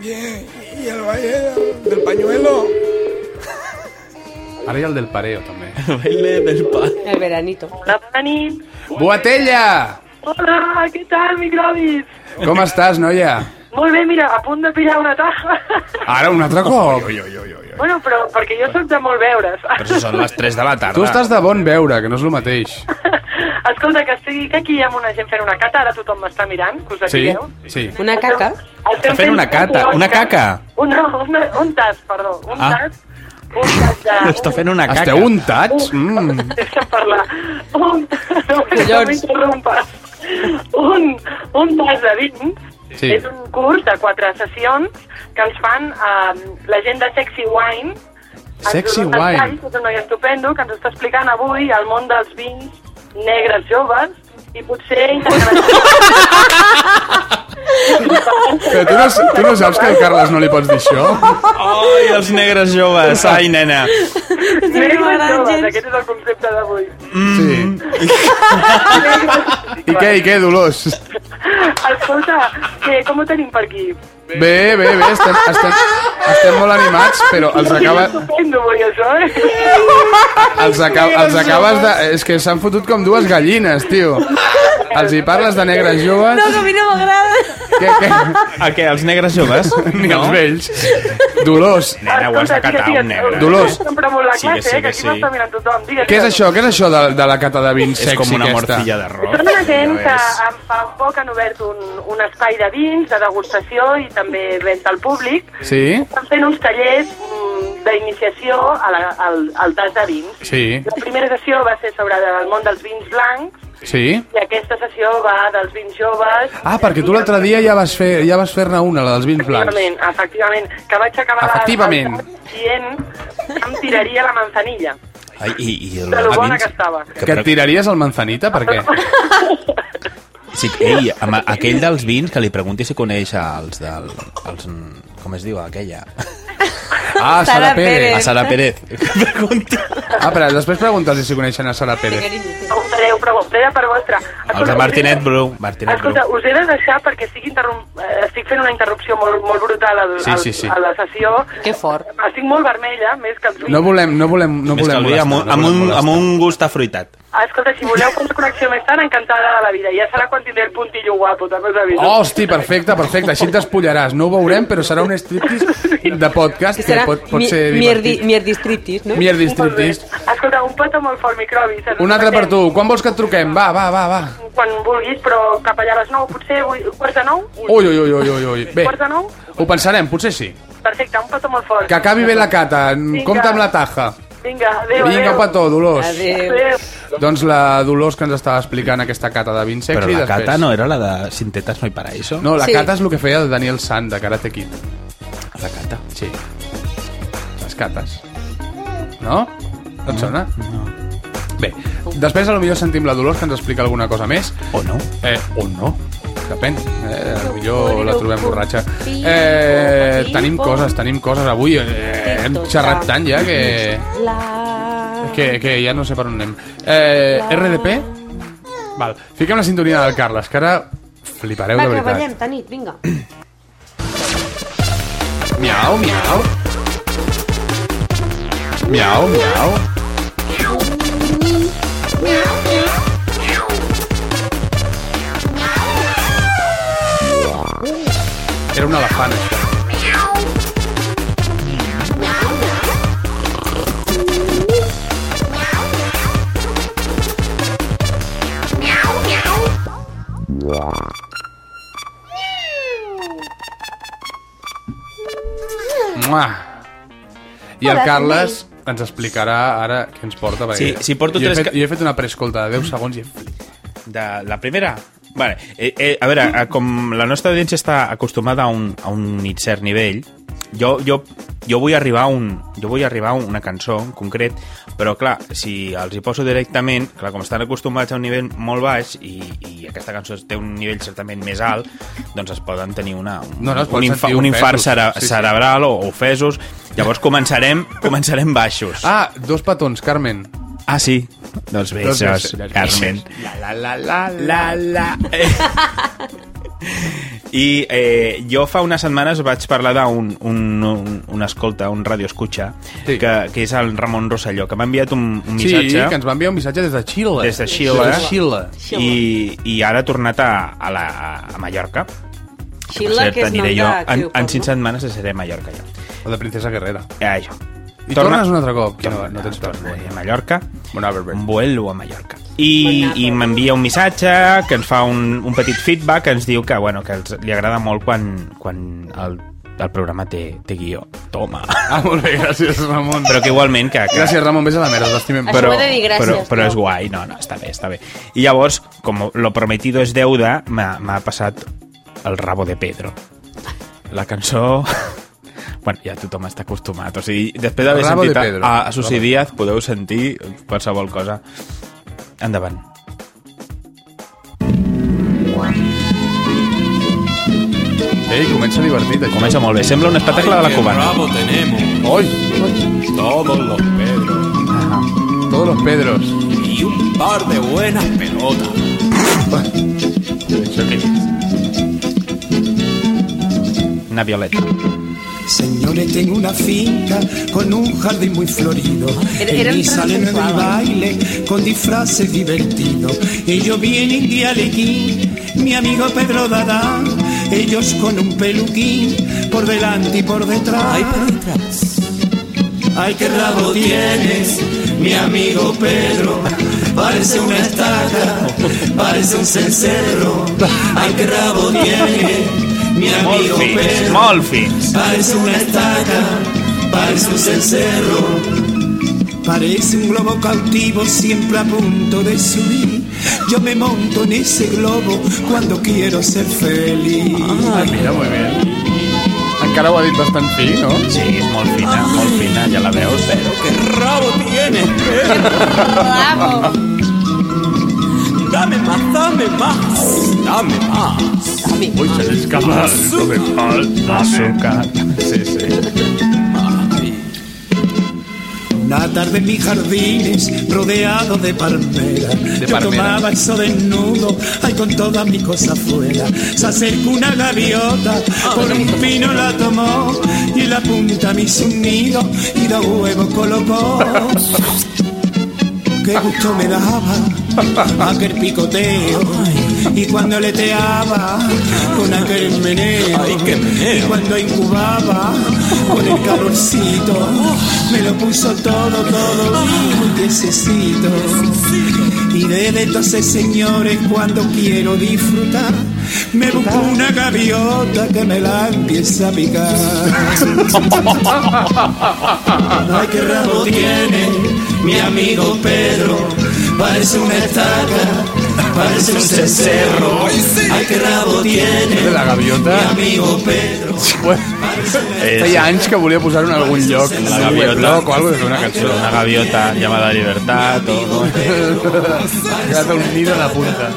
Y el baile del pañuelo.
Ara hi ha el del pareo, també.
Baile del pa.
El veranito.
Boatella!
Hola, Ah, què tal, microbis?
Com estàs, noia?
Molt bé, mira, a punt de pillar una taja.
Ara un altre cop?
bueno, però perquè jo sóc de molt veure's.
Però si són les 3 de la tarda.
Tu estàs de bon veure, que no és el mateix.
Escolta, que estic que aquí hi ha una gent fent una cata, ara tothom m'està mirant, que us
Sí?
acigueu.
Sí.
Una caca.
Estem
fent una cata, una caca.
Un, no, un, un tas, perdó, un
Ah.
tas. Un tas de...
Està fent una caca.
Esteu untats? Mm.
Deixa'm parlar. Un, no, no
Collons.
m'interrompes. Un, un tas de vins
Sí.
sí. és un curs de quatre sessions que ens fan eh, la gent de Sexy Wine. Ens
Sexy
dona un
Wine.
tall, que És un noi estupendo que ens està explicant avui el món dels vins negres joves i potser...
Però tu no, tu no saps que al Carles no li pots dir això?
Ai, els negres joves. Ai, nena.
negres joves,
Àngels.
aquest és el concepte d'avui.
Sí. I què, i què, Dolors?
Escolta, que, com ho tenim per aquí?
Bé, bé, bé, estem, estem, estem molt animats, però els, acaba,
Estupendo, avui, això, eh?
els, aca, els acabes de... És que s'han fotut com dues gallines, tio. Els hi parles de negres joves...
No, que a mi no m'agrada.
Què, què?
A què, els negres joves?
Ni els vells. Dolors,
Nena, ho has de
Escolta,
catar,
digues,
un
digues.
negre.
Dolors.
Sempre molt la
Sí que
classe,
sí,
eh,
que
que aquí
sí.
m'està mirant tothom. Digues,
què és
digues.
això? Què és això de, de la cata de vins
És
sexy
com una
aquesta?
morcilla
Són
d'arròs.
una Tota gent que en fa un poc han obert un, un espai de vins, de degustació i també venda al públic.
Sí?
Estan fent uns tallers mm, d'iniciació a la- al, al tas de vins.
Sí?
La primera sessió va ser sobre el món dels vins blancs
Sí?
i aquesta sessió va dels vins joves.
Ah, perquè tu l'altre dia ja vas fer ja vas fer-ne una, la dels vins blancs.
Efectivament, efectivament, que vaig acabar la-
Efectivament.
dient que em tiraria la manzanilla,
Ai, i, i el,
de lo
a
bona
dins-
que estava.
Que et tiraries el manzanita, per què?
Sí, ei, amb aquell dels vins que li pregunti si coneix els del... Els, com es diu, aquella?
Ah, Sara,
Sara
Pérez.
Eh.
Pérez.
A Sara Pérez.
Ah, però després pregunta'ls si coneixen a Sara Pérez.
Preguntareu, preguntareu per vostra.
Els de Martinet Bru. Martinet
Escolta, us he de deixar perquè estic, interrom... eh, estic fent una interrupció molt, molt brutal al,
Sí,
al-
sí, sí.
a la sessió.
Que fort.
Estic molt vermella, més que el
No volem, no volem, no
Més que
volem
el vi, amb, un- amb, un, amb un gust afruitat.
Ah, Escolta, si voleu fer una connexió més tard, encantada de la vida. Ja serà quan tindré el puntillo guapo, també us aviso.
Hosti, perfecte, perfecte. Així t'espullaràs. No ho veurem, però serà un striptease de podcast
Que
que
serà
pot, pot
mi-
ser
mierdi,
divertit.
mierdistritis, no?
Mierdi striptease.
Escolta, un petó molt fort, microbis. Ens
Un altre per
veiem
tu. Quan vols que et truquem? Va, va, va, va.
Quan vulguis, però cap allà a les 9, potser vull- quarts de 9?
Ui, ui, ui, ui, ui, ui. Bé,
Quarts de 9?
ho pensarem, potser sí.
Perfecte, un petó molt fort.
Que acabi bé la cata. Compte amb la taja.
Vinga, adéu,
Vinga,
adéu.
un petó, Dolors.
Adéu.
Doncs la Dolors que ens estava explicant aquesta cata de Vinsec.
Però
i
la
després-
cata no era la de Sintetas no hay paraíso?
No, la
Sí.
cata és el que feia el Daniel Sant de Karate Kid. La cata? Sí. Les cates. No? No et sona? No. Bé, després a lo millor sentim la Dolors que ens explica alguna cosa més. O no. Eh, o no. Depèn. Eh, a lo millor la trobem borratxa. Eh, tenim coses, tenim coses. Avui eh, hem xerrat tant ja que... Que, que ja no sé per on anem. Eh, RDP? Val. Fiquem la sintonia del Carles, que ara flipareu
Va,
de
que
veritat.
ballem, Tanit, vinga.
Miau, miau. Miau, miau. Era un elefant, això. Mua. I el
Hola,
Carles ens explicarà ara què ens porta. perquè
Sí, sí, porto
jo, he
tres
fet, jo he fet una preescolta de 10 segons i he
De la primera? Vale. Eh, eh, a veure, eh, com la nostra audiència està acostumada a un, a un cert nivell, jo, jo, jo vull arribar a un, jo vull arribar a una cançó en concret, però clar, si els hi poso directament, clar, com estan acostumats a un nivell molt baix i, i aquesta cançó té un nivell certament més alt, doncs es poden tenir una, un,
No, no, es
un,
poden sentir
un infart
ofesos.
cere
Sí, sí.
cerebral o ofesos, llavors començarem, començarem baixos.
Ah, dos petons, Carmen.
Ah, sí? Doncs bé,
Dos
això és
besos,
Carmen.
La, la, la, la, la.
I eh, jo fa unes setmanes vaig parlar d'un un, un, un escolta, un radio escucha, sí. que, que és el Ramon Rosselló, que m'ha enviat un, un missatge...
Sí, que ens va enviar un missatge des de Xile.
Des de Xile.
Des de Xile.
I, i ara ha tornat a, a, la, a Mallorca.
Xile, que és nom
aniré
de
en,
actriu
en
porno.
5 setmanes seré a Mallorca, jo.
O de Princesa Guerrera.
Ja, això.
I tornes Ah, un altre cop? Que no, no tens
torno a Mallorca. Mm. Vuelvo a Mallorca.
Bon
I,
Albert.
i m'envia un missatge que ens fa un, un petit feedback que ens diu que, bueno, que els, li agrada molt quan, quan el, el programa té, té guió. Toma.
Ah, molt bé, gràcies, Ramon.
Però que igualment que... que...
Gràcies, Ramon, vés a la merda, t'estimem.
Però,
Això ho he de dir gràcies,
però, però
tio.
és guai, no, no, està bé, està bé. I llavors, com lo prometido es deuda, m'ha m'ha passat el rabo de Pedro. La cançó... Bueno, ja tothom està acostumat. O sigui, després d'haver
Rabo
sentit
de
a,
Pedro.
a, a Susi Díaz, podeu sentir qualsevol cosa. Endavant.
Ei, comença divertit, això.
Comença molt bé. Sembla un espectacle de la cubana.
tenemos.
Hoy.
Todos los Pedros.
Todos los Pedros.
Y un par de buenas pelotas.
Una violeta.
Señores, tengo una finca con un jardín muy florido.
Era- era
En mí
un
salen del
transexual.
baile con disfraces divertidos. Ellos vienen de Alequín, mi amigo Pedro Dadá. Ellos con un peluquín por delante y por detrás. Ay, qué rabo tienes, mi amigo Pedro. Parece una estaca, parece un cencerro. Ay, qué rabo tienes, mi amigo Pedro.
Molt fins.
Parece una estaca, parece un cencerro. Parece un globo cautivo siempre a punto de subir. Yo me monto en ese globo cuando quiero ser feliz.
Ah, mira, molt bé. Encara ho ha dit bastant fi, no?
Sí, és molt fina, molt fina, ja la veus, però...
¡Qué rabo tienes,
Bravo.
Mm.
Dame más, dame más. Dame más.
Dame
más.
Ah,
Azúcar. Sí, sí.
Ay,
Una tarde en mis jardines, rodeado de palmeras.
De
Yo
palmeras.
tomaba el sol desnudo, ay, con todas mis cosas afuera. Se acercó una gaviota, por un pino la tomó, y en la punta me hizo un nido, y dos huevos colocó. Qué gusto me daba aquel picoteo, y cuando leteaba con aquel meneo, y cuando incubaba con el calorcito, me lo puso todo, todo, un tiesecito. Y desde entonces, señores, cuando quiero disfrutar, me busco una gaviota que me la empieza a picar. Ay, qué rabo tiene mi amigo Pedro, parece una estaca, parece un cencerro. Ay, qué rabo tiene
De la gaviota.
mi amigo Pedro.
Feia anys que volia posar en algun lloc.
La
en un
gaviota.
weblog o algo, és una cançó.
Una gaviota llamada Libertad. O...
Quedat un nido en la punta.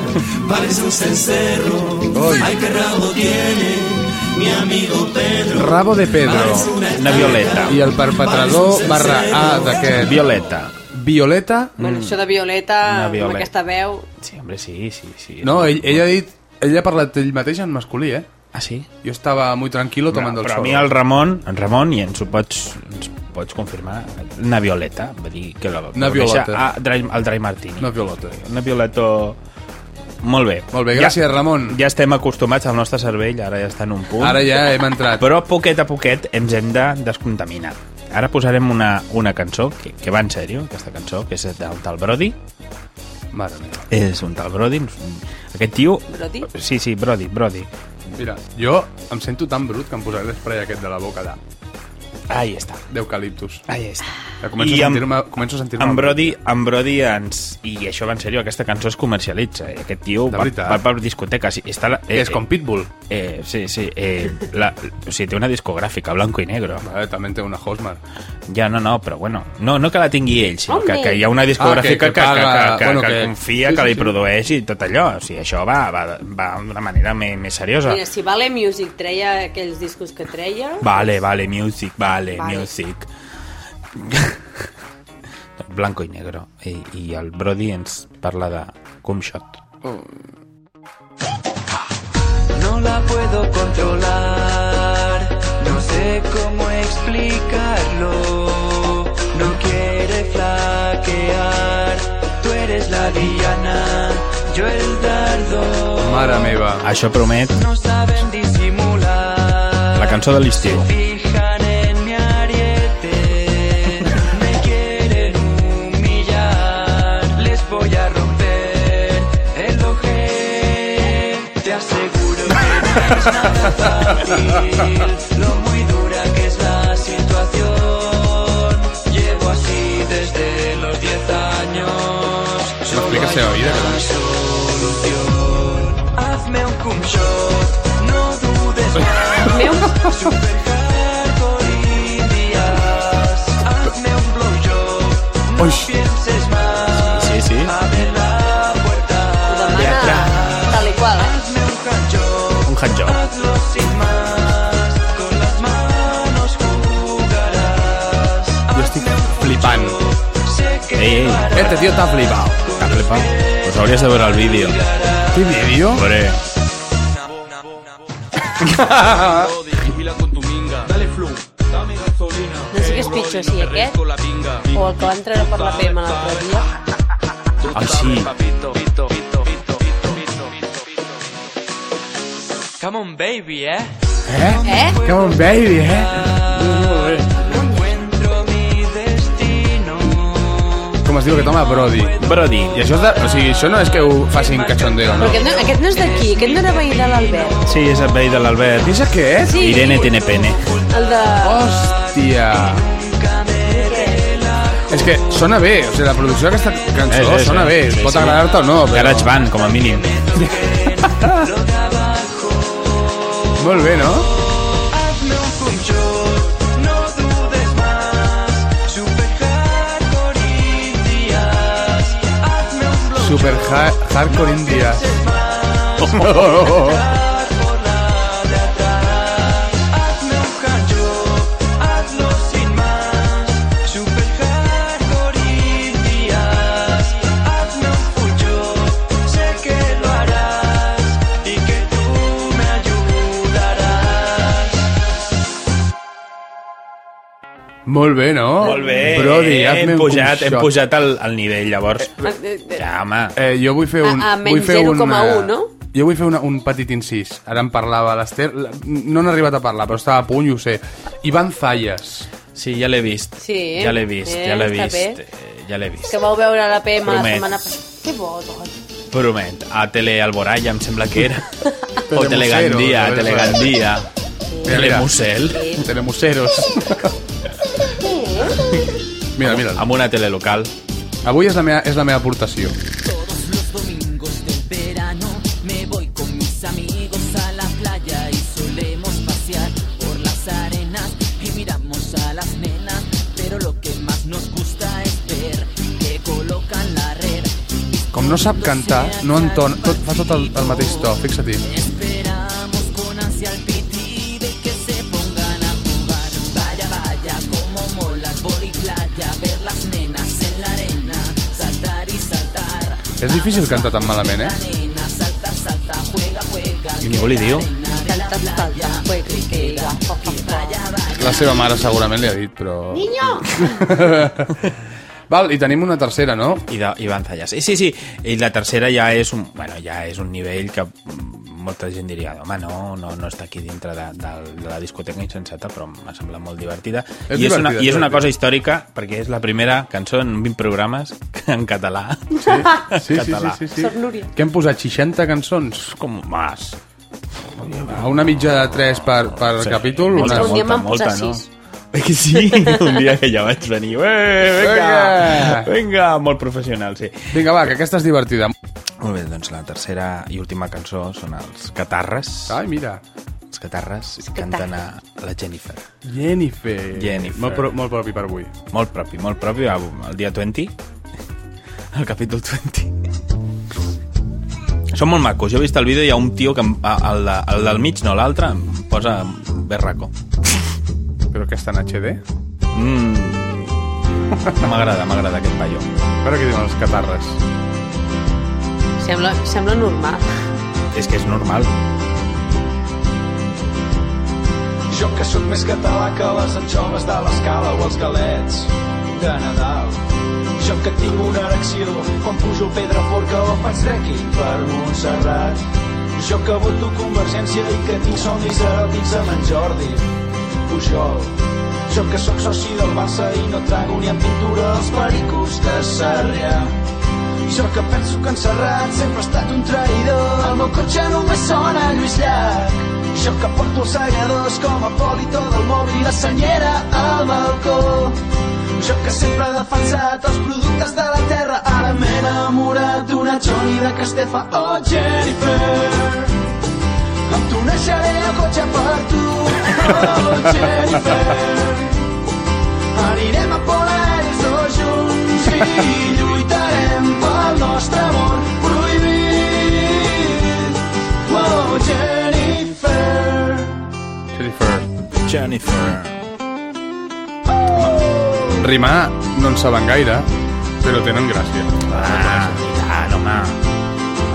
Parece un cencerro. Ay, qué rabo tiene mi amigo Pedro.
Rabo de Pedro.
Una violeta.
I el perpetrador barra A d'aquest...
Violeta.
Violeta.
Bueno, això de Violeta,
Una
amb
Violeta.
aquesta veu...
Sí, hombre, sí, sí, sí.
No, ell, ell ha dit... Ell ha parlat ell mateix en masculí, eh?
Ah, sí?
Jo estava muy tranquilo tomando el
Però a
sol. eh?
mi el Ramon, en Ramon, i ens ho pots, ens pots confirmar, una violeta, va dir que la va
Una
conèixer
violeta.
A, Dry, al Dry Martini.
Una violeta.
Una violeta... Molt bé.
Molt bé, gràcies, Ramon.
Ja estem acostumats al nostre cervell, ara ja està en un punt.
Ara ja hem entrat.
Però poquet a poquet ens hem de descontaminar. Ara posarem una, una cançó, que, que va en sèrio, aquesta cançó, que és del tal Brody.
Mare meva.
És un tal Brody. Aquest tio...
Brody?
Sí, sí, Brody, Brody.
Mira, jo em sento tan brut que em posaré l'espray aquest de la boca de...
Ahí està.
d'eucaliptus.
Ahí està.
Ja començo,
I
a
amb-
sentir-me... Començo a sentir-me...
En Brody, en Brody ens... I això va en sèrio, aquesta cançó es comercialitza. eh? Aquest tio
De
va,
veritat.
va per discoteques. i Està, la-
Que és com Pitbull.
Eh, sí, sí. Eh, la, o sigui, té una discogràfica, blanco i negro.
Vale, també en té una Hosmer.
Ja, no, no, però bueno. No, no que la tingui ell, sinó que,
Hombre.
que hi ha una
Ah, que- que
discogràfica que, que,
paga-
que, que,
bueno,
bueno, que,
que-
confia,
sí,
que
sí,
li
sí.
produeix i tot allò. O sigui, això va, va, va d'una manera més, més seriosa.
Mira, si Vale Music treia aquells discos que treia...
Vale, vale, music, vale,
Vale.
music. Blanco i negro. I, I el Brody ens parla de Comshot.
No la puedo controlar, no sé cómo explicarlo. No quiere flaquear, tú eres la diana, yo el dardo.
Mare meva.
Això promet
No saben disimular,
la cançó de l'estiu.
fijan en mi ariete. Me quieren humillar, les voy a romper el ojete. Te aseguro que no es nada fácil, lo muy dura que es la situación. Llevo así desde los 10 años.
Se m'explica seva vida, que també.
Hazme un cum shot, no dudes más. Supercar por indias. Hazme un blow job, no pienses más.
Sí, sí.
Abre la puerta.
Teatre.
Tal i qual, eh?
Hazme un hand job,
Un hot job.
hazlo sin más. Con las manos jugarás.
Jo estic flipant.
Sé que
Ei, ei.
Este tío está flipado.
T'ha flipat? Pues hauries de veure el vídeo.
¿Qué vídeo?
Hombre.
Vigila con tu minga. Dale flu. Dame gasolina.
No sé què és pitjor, si aquest
Con la pinga.
o el que van treure per la PM l'altre dia.
Ah, sí.
Papito, pito, pito, pito, pito, pito, pito. Come on, baby, eh.
Eh?
Eh?
Come on, baby, eh?
Encuentro mi destino.
Com es diu aquest home? Brody.
Brody.
I això, és de... o sigui, això no és que ho facin cachondeo, no?
Però aquest no, aquest no és d'aquí, aquest no era veí de l'Albert.
Sí, és el veí de l'Albert.
Pensa que és?
Sí.
Irene tiene pene.
El de...
Hòstia. És que sona bé, o sigui, la producció d'aquesta cançó
És, és,
sona
és,
bé,
sí,
pot
sí.
agradar-te o no, però...
Garage Band, com a mínim.
Molt bé, no?
Hazme un cum shot, no dudes más. Super hardcore indias. Hazme un blow
Super ha hardcore india.
Hazme un hand job, hazlo sin más. Super hardcore
Molt bé, no?
Molt bé.
Brody, hazme
hem
un
pujat, hem
shot.
pujat al, al nivell, llavors.
eh,
Ja, home.
Eh, jo vull fer un...
A- a menys
vull fer un,
0,1,
eh,
no?
Jo vull fer una, un petit incís. Ara en parlava l'Ester. la- No n'ha arribat a parlar, però estava a punt, i ho sé. Ivan Zayas.
Sí, ja l'he vist.
Sí,
Ja l'he vist,
eh,
ja l'he
està
vist.
bé.
eh, Ja l'he vist.
Que vau veure la PM la
Promet.
setmana passada. Que bo, tot.
Promet. A Tele Alboraya, em sembla que era. o
Telemuseo,
Telegandia,
no?
Telegandia. Telemusel.
Eh.
Telemuseros. Mira, mira.
Amb una tele local.
Avui és la meva, és la meva aportació.
verano me voy con mis amigos a la playa y solemos pasear por las arenas y miramos a las nenas, pero lo que más nos gusta es ver que colocan la red
Com no sap cantar, no entona... Tot, fa tot el, el mateix to, fixa-t'hi.
Esperamos con ansia el pitido y que se pongan a jugar. Vaya, vaya, como molas, boli playa, ver las nenas en la arena, saltar y saltar.
És difícil cantar tan malament, eh?
Nena, salta, salta, juega, juega.
I ningú li diu.
Salta, salta, juega, juega. Y vaya, vaya.
La seva mare segurament li ha dit, però... Val, i tenim una tercera, no?
I, de, i van zallar. Sí, sí, sí. I la tercera ja és un, bueno, ja és un nivell que mm, molta gent diria, home, no, no, no està aquí dintre de, de, de la discoteca insensata, però m'ha semblat molt divertida.
És
I és, una,
divertida,
I és una
divertida.
cosa històrica, perquè és la primera cançó en 20 programes en català.
Sí, sí,
Català.
sí, sí, sí. Que hem posat 60 cançons.
Com més.
A una mitja de 3 per, per
Sí.
capítol.
Molta,
una...
Un dia molta, em van molta, posar no? sis. Que sí, un dia que ja vaig venir. Eh, vinga,
Vinga.
vinga, molt professional, sí.
Vinga, va, que aquesta és divertida.
Molt bé, doncs la tercera i última cançó són els Catarres.
Ah,
Ai, mira.
Els Catarres canten a la Jennifer.
Jennifer.
Jennifer.
Molt, pro, molt propi per avui.
Molt propi, molt propi. al- El dia 20, el capítol 20. Són molt macos. Jo he vist el vídeo i hi ha un tio que em- a- el, de- el del mig, no l'altre, em posa berraco.
Però que està en HD?
Mm. M'agrada, m'agrada aquest paio.
Però què diuen els catarres?
Sembla, sembla normal.
És que és normal.
Jo que sóc més català que les anxoves de l'escala o els galets de Nadal. Jo que tinc una erecció quan pujo pedra forca o faig trekking per Montserrat. Jo que voto Convergència i que tinc somnis eròtics amb en Jordi Pujol. Jo que sóc soci del Barça i no trago ni amb pintura els pericos de Sarrià. Jo que penso que en Serrat sempre ha estat un traïdor. El meu cotxe només sona a Lluís Llach. Jo que porto els segadors com a polito del mòbil i la senyera al balcó. Jo que sempre he defensat els productes de la terra, ara m'he enamorat d'una Johnny de Castefa o oh, Jennifer. Em tuneixaré el cotxe per tu, oh, Jennifer. Anirem a Polaris dos junts i lluitarem pel nostre món prohibit. Oh, Jennifer.
Jennifer.
Jennifer.
Rimar no en saben gaire, però tenen gràcia.
Ah, i tant, home.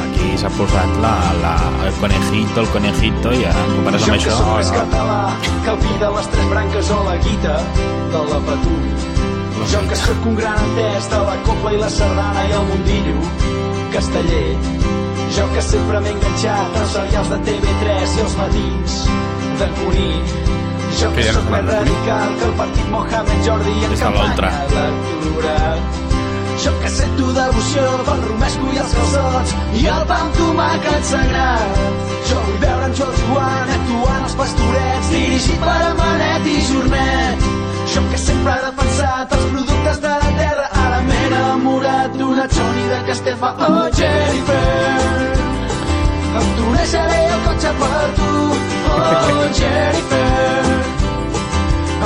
Aquí s'ha posat la, la, el conejito, el conejito, i ara en comparació
jo
amb
que
això... Ah.
sóc més català que el vi de les tres branques o la guita de la Patum. Jo que sóc un gran entès de la copla i la sardana i el mundillo casteller. Jo que sempre m'he enganxat als serials de TV3 i els matins de Cunit. Jo
Que
que
ja no
sóc
parlen
més
de Cunit.
radical que el partit Mohamed Jordi en
Des de l'Ultra.
campanya electoral. Jo que sento devoció pel romesco i els calçots i el pa amb tomàquet sagrat. Jo vull veure en Joan Joan actuant als pastorets dirigit per Amanet i Jornet. Jo que sempre he defensat els productes de la terra ara m'he enamorat d'una Johnny de Castefa o oh, Jennifer. Em tornejaré el cotxe per tu, oh Jennifer.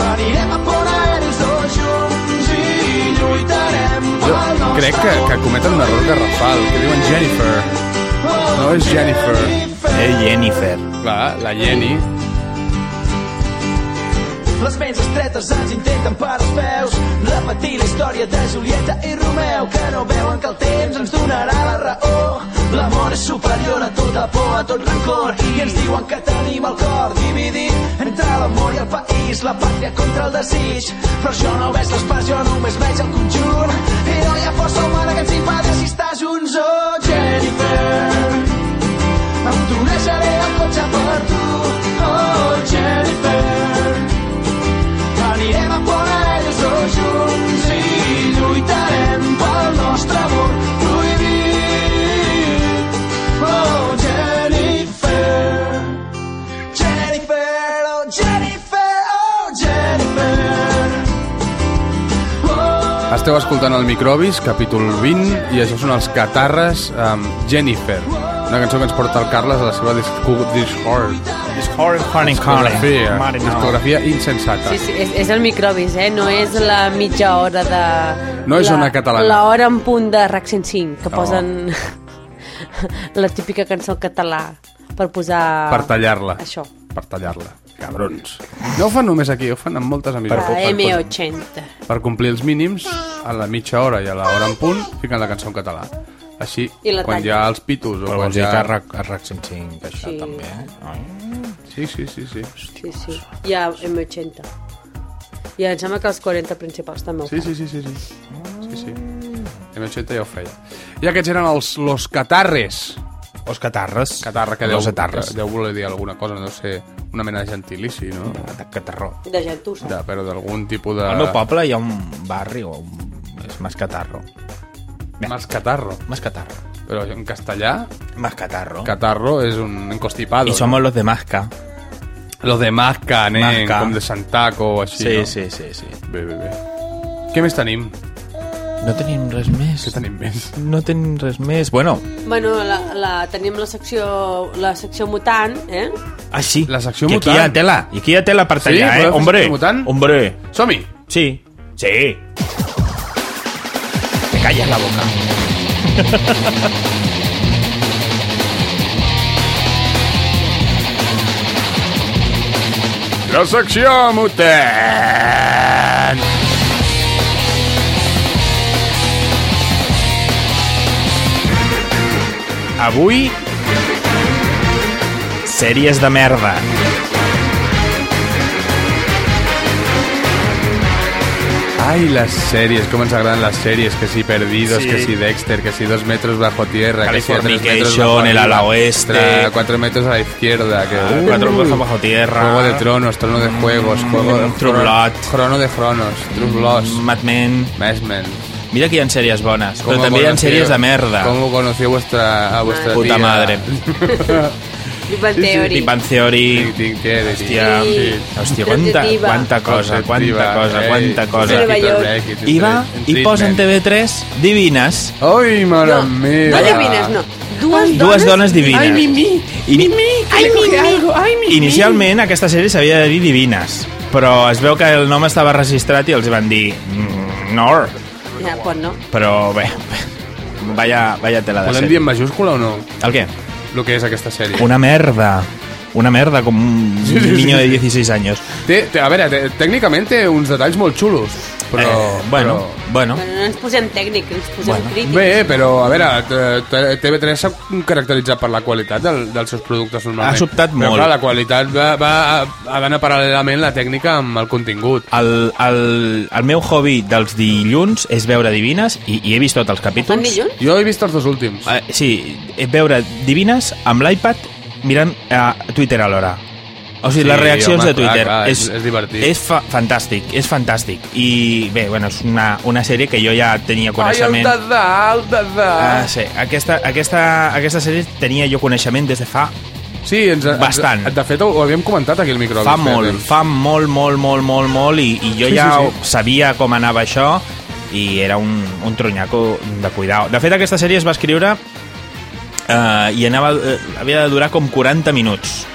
Anirem a Polaris dos junts i lluitarem pel nostre
Crec que, que cometen un error garrafal, que diuen Jennifer. No és Jennifer.
És Eh, Jennifer.
Clar, la Jenny.
Les ments estretes ens intenten per als peus repetir la història de Julieta i Romeu que no veuen que el temps ens donarà la raó
L'amor és superior a tota por, a tot rancor i ens diuen que tenim el cor dividit entre l'amor i el país, la pàtria contra el desig. Però jo no veig les parts, jo només veig el conjunt i no hi ha força humana que ens impedeixi estar junts. Oh, Jennifer, em tornejaré el cotxe per tu. Oh, Jennifer, anirem a por aèries dos junts i lluitarem pel nostre amor prohibit. Oh, Jennifer, Jennifer, oh, Jennifer, oh, Jennifer. Oh,
Esteu escoltant el Microbis, capítol 20, i això són els Catarres amb Jennifer, una cançó que ens porta el Carles a la seva disco- Discord.
Discord, honey, honey.
Discografia,
Mare meva.
discografia insensata.
Sí, sí, és, és el microbis, eh? No és la mitja hora de...
No és
la-
una catalana.
L'hora en punt de RAC 105, que
No.
posen la típica cançó en català per posar...
Per tallar-la.
Això.
Per tallar-la. Cabrons. No ho fan només aquí, ho fan en moltes
Per
emisores.
la
Per- per-
M80.
per complir els mínims, a la mitja hora i a l'hora en punt, fiquen la cançó en català. Així,
I la
quan
tallen.
hi ha els pitos o
Però
quan
vols
hi
dir que a
ha...
RAC, a RAC 105 això
Sí.
també, eh?
Sí, sí, sí, sí.
Sí, sí. Hi ha M80. I em sembla que els 40 principals també ho
Sí, sí, sí, sí, sí. Sí, sí. M80 ja ho feia. I aquests eren els Los Catarres.
Los Catarres.
Catarra, que deu,
Los Catarres.
que deu voler dir alguna cosa, no deu ser una mena de gentilici, no?
Catarró.
De gentussa.
De, però d'algun tipus de...
Al meu poble hi ha un barri o un... és Mascatarro.
Mascatarro.
Mascatarro.
Però en castellà...
Mascatarro.
Catarro és un encostipado.
I somos los de Masca.
Los de Masca, nen,
Masca.
com de Santaco o així,
Sí,
no?
sí, sí, sí.
Bé, bé, bé. Què més tenim?
No tenim res més.
Què tenim més?
No tenim res més. Bueno,
Bueno, la, la, tenim la secció, la secció mutant, eh?
ah, sí.
La secció
que aquí
mutant.
Hi ha tela. I aquí hi ha tela per
Sí?
tallar,
Voleu
eh?
fer
Hombre.
secció mutant?
Hombre.
Som-hi!
Sí. Sí. Te calles la boca.
La secció mutant!
Avui... Sèries de merda.
Ai, les sèries, com ens agraden les sèries, que si Perdidos,
Sí.
que si Dexter, que si Dos metros bajo tierra, que si a tres metros
Californication,
bajo
El
arriba,
ala oeste.
tra- Cuatro metros a la izquierda, que...
Ah,
Uh, Cuatro metros bajo tierra.
Juego de tronos, trono de juegos, juego... de-
True Blood.
Crono de Cronos, True Blood.
Mad Men.
Mad Men.
Mira que hi ha sèries bones, però
¿Cómo
també hi ha
conocí-
sèries de merda.
¿Cómo conocí vuestra, a vuestra
Puta
tía?
madre.
Big Bang Theory.
Big Bang Theory.
Ting, ting, tiere, ting.
Hòstia,
Sí.
hòstia, quanta,
Detectiva.
quanta cosa, quanta
Detectiva, eh.
cosa,
ei.
quanta cosa.
Nueva York.
I va, i posa en TV3 divines.
Ai, mare
No,
meva.
no divines, no. Dues dones...
Dues dones divines.
Ai, Mimi.
I-
Mimi, que Ai, Mimi. Algo. Ai, Mimi.
Inicialment aquesta sèrie s'havia de dir divines, però es veu que el nom estava registrat i els van dir mm, Nor,
Ja, pot, no?
però bé, vaya, vaya tela de
Podem dir
sèrie.
en majúscula o no?
El què?
El que és aquesta sèrie.
Una merda, una merda com un
Sí, sí, sí,
niño de
sí.
16 anys.
Té, té, a veure, té, tècnicament té uns detalls molt xulos, però...
Eh, bueno, bueno.
Bueno, no ens posem tècnic, ens posem bueno.
però...
crític.
Bé, però, a veure, t- t- TV3 s'ha caracteritzat per la qualitat del, dels seus productes normalment.
Ha sobtat
però,
molt.
Clar, la qualitat va, va, ha d'anar paral·lelament la tècnica amb el contingut.
El, el, el meu hobby dels dilluns és veure divines i, i he vist tots els
Fan
capítols.
dilluns?
Jo he vist els dos últims.
Eh, sí, eh, veure divines amb l'iPad mirant a Twitter alhora. O
Sí,
sigui, sí, les reaccions
home,
de Twitter.
clar, clar, és- és divertit.
És fa fantàstic, és fantàstic. I bé, bueno, és una, una sèrie que jo ja
Ai,
tenia
el
coneixement.
de dalt, de
Ah,
dalt.
sí, aquesta, aquesta, aquesta sèrie tenia jo coneixement des de fa,
Sí, ens, ens,
Bastant.
De fet, ho, ho havíem comentat aquí al micro.
fa molt, fa molt, molt, molt, molt, molt, i, i jo
Sí,
sí, ja
sí,
sí, sí. sabia com anava això i era un, un tronyaco de cuidar. De fet, aquesta sèrie es va escriure eh, i anava, eh, havia de durar com 40 minuts.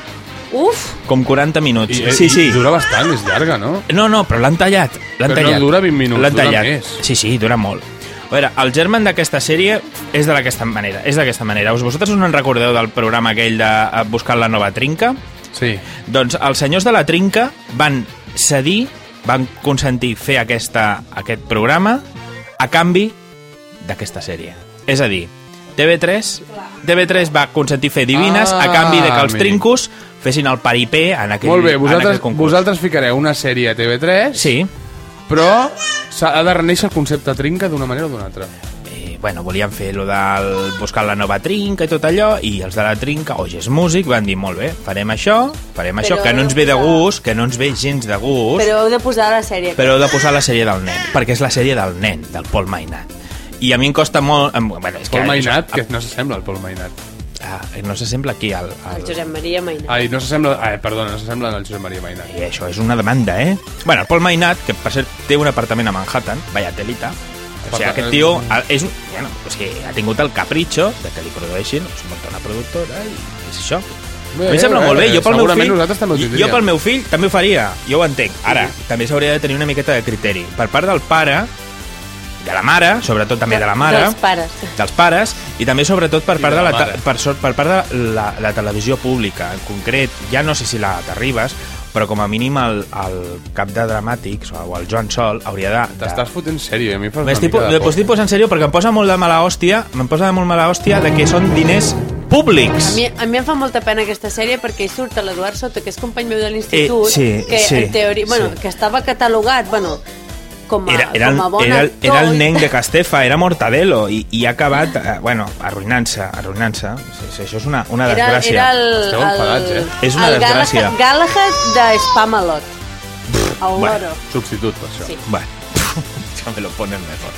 Uf,
Com 40 minuts.
I,
sí, sí.
Dura bastant, és llarga, no?
No, no, però l'han tallat. L'han
Però no
tallat.
dura 20 minuts,
L'han
dura
tallat.
més.
Sí, sí, dura molt. A veure, el germen d'aquesta sèrie és de d'aquesta manera, és d'aquesta manera. Us- Vosaltres no en recordeu del programa aquell de eh, Buscant la nova trinca?
Sí.
Doncs els senyors de la trinca van cedir, van consentir fer aquesta, aquest programa a canvi d'aquesta sèrie. És a dir, TV3 TV3 va consentir fer divines
Ah,
a canvi de que els
mira.
trincos fessin el paripé en aquell,
Molt bé,
en
vosaltres,
aquell concurs.
vosaltres ficareu una sèrie a TV3
Sí
però s'ha ha de reneixer el concepte trinca d'una manera o d'una altra.
Eh, bueno, volien fer lo del buscar la nova trinca i tot allò, i els de la trinca, o és músic, van dir, molt bé, farem això, farem això,
Però
que no ens ve de
heu de-
gust, que no ens ve gens de gust, però,
Però heu de posar la sèrie.
però heu de posar la sèrie del nen, perquè és la sèrie del nen, del Pol Mainat. I a mi em costa molt... em- Bueno, és
Pol
que,
Mainat, que no s'assembla al Pol Mainat.
Ah, no s'assembla aquí al... al...
El Josep Maria Mainat.
Ai, no s'assembla... Ai, perdona, no s'assembla al Josep Maria Mainat.
I això és una demanda, eh? Bueno, el Pol Mainat, que per cert té un apartament a Manhattan, vaya telita, o sigui,
Aparta-
aquest tio ah, és, un- bueno, o sigui, ha tingut el capritxo de que li produeixin, es munta una productora i és això. Bé, a mi em sembla
bé,
molt bé,
bé,
jo pel meu
segurament
fill,
nosaltres també ho
jo
tindríem.
pel meu fill també ho faria, jo ho entenc. Ara, també s'hauria de tenir una miqueta de criteri. Per part del pare, de la mare, sobretot també de la mare,
Dels pares.
dels pares i també sobretot per
I
part
de
de
la
la, te-
mare.
per, sort, per part de la, la televisió pública en concret, ja no sé si la t'arribes però com a mínim el, el cap de dramàtics o el Joan Sol hauria de... de-
T'estàs fotent sèrio, a mi em fas una
M'estic po-
mica de
m'ho
por.
estic posant en sèrio perquè em posa molt de mala hòstia em posa de molt mala hòstia de que són diners
A
públics
mi, a mi em fa molta pena aquesta sèrie perquè hi surt l'Eduard Soto, que és company meu de l'institut,
Eh, sí,
que
sí,
en teoria, bueno,
sí.
que estava catalogat, bueno, com a,
era, era, el,
com a bon
era, el,
actor.
era el nen de Castefa, era Mortadelo i, i ha acabat, eh, bueno, arruïnant-se arruïnant-se, Sí, sí, això és una, una
Era,
desgràcia
era el, el,
és una
el
desgràcia
Galahad, Galahad de Spamalot. A un
bueno.
loro.
Substitut, per això.
Sí.
Bueno, ja me lo ponen mejor.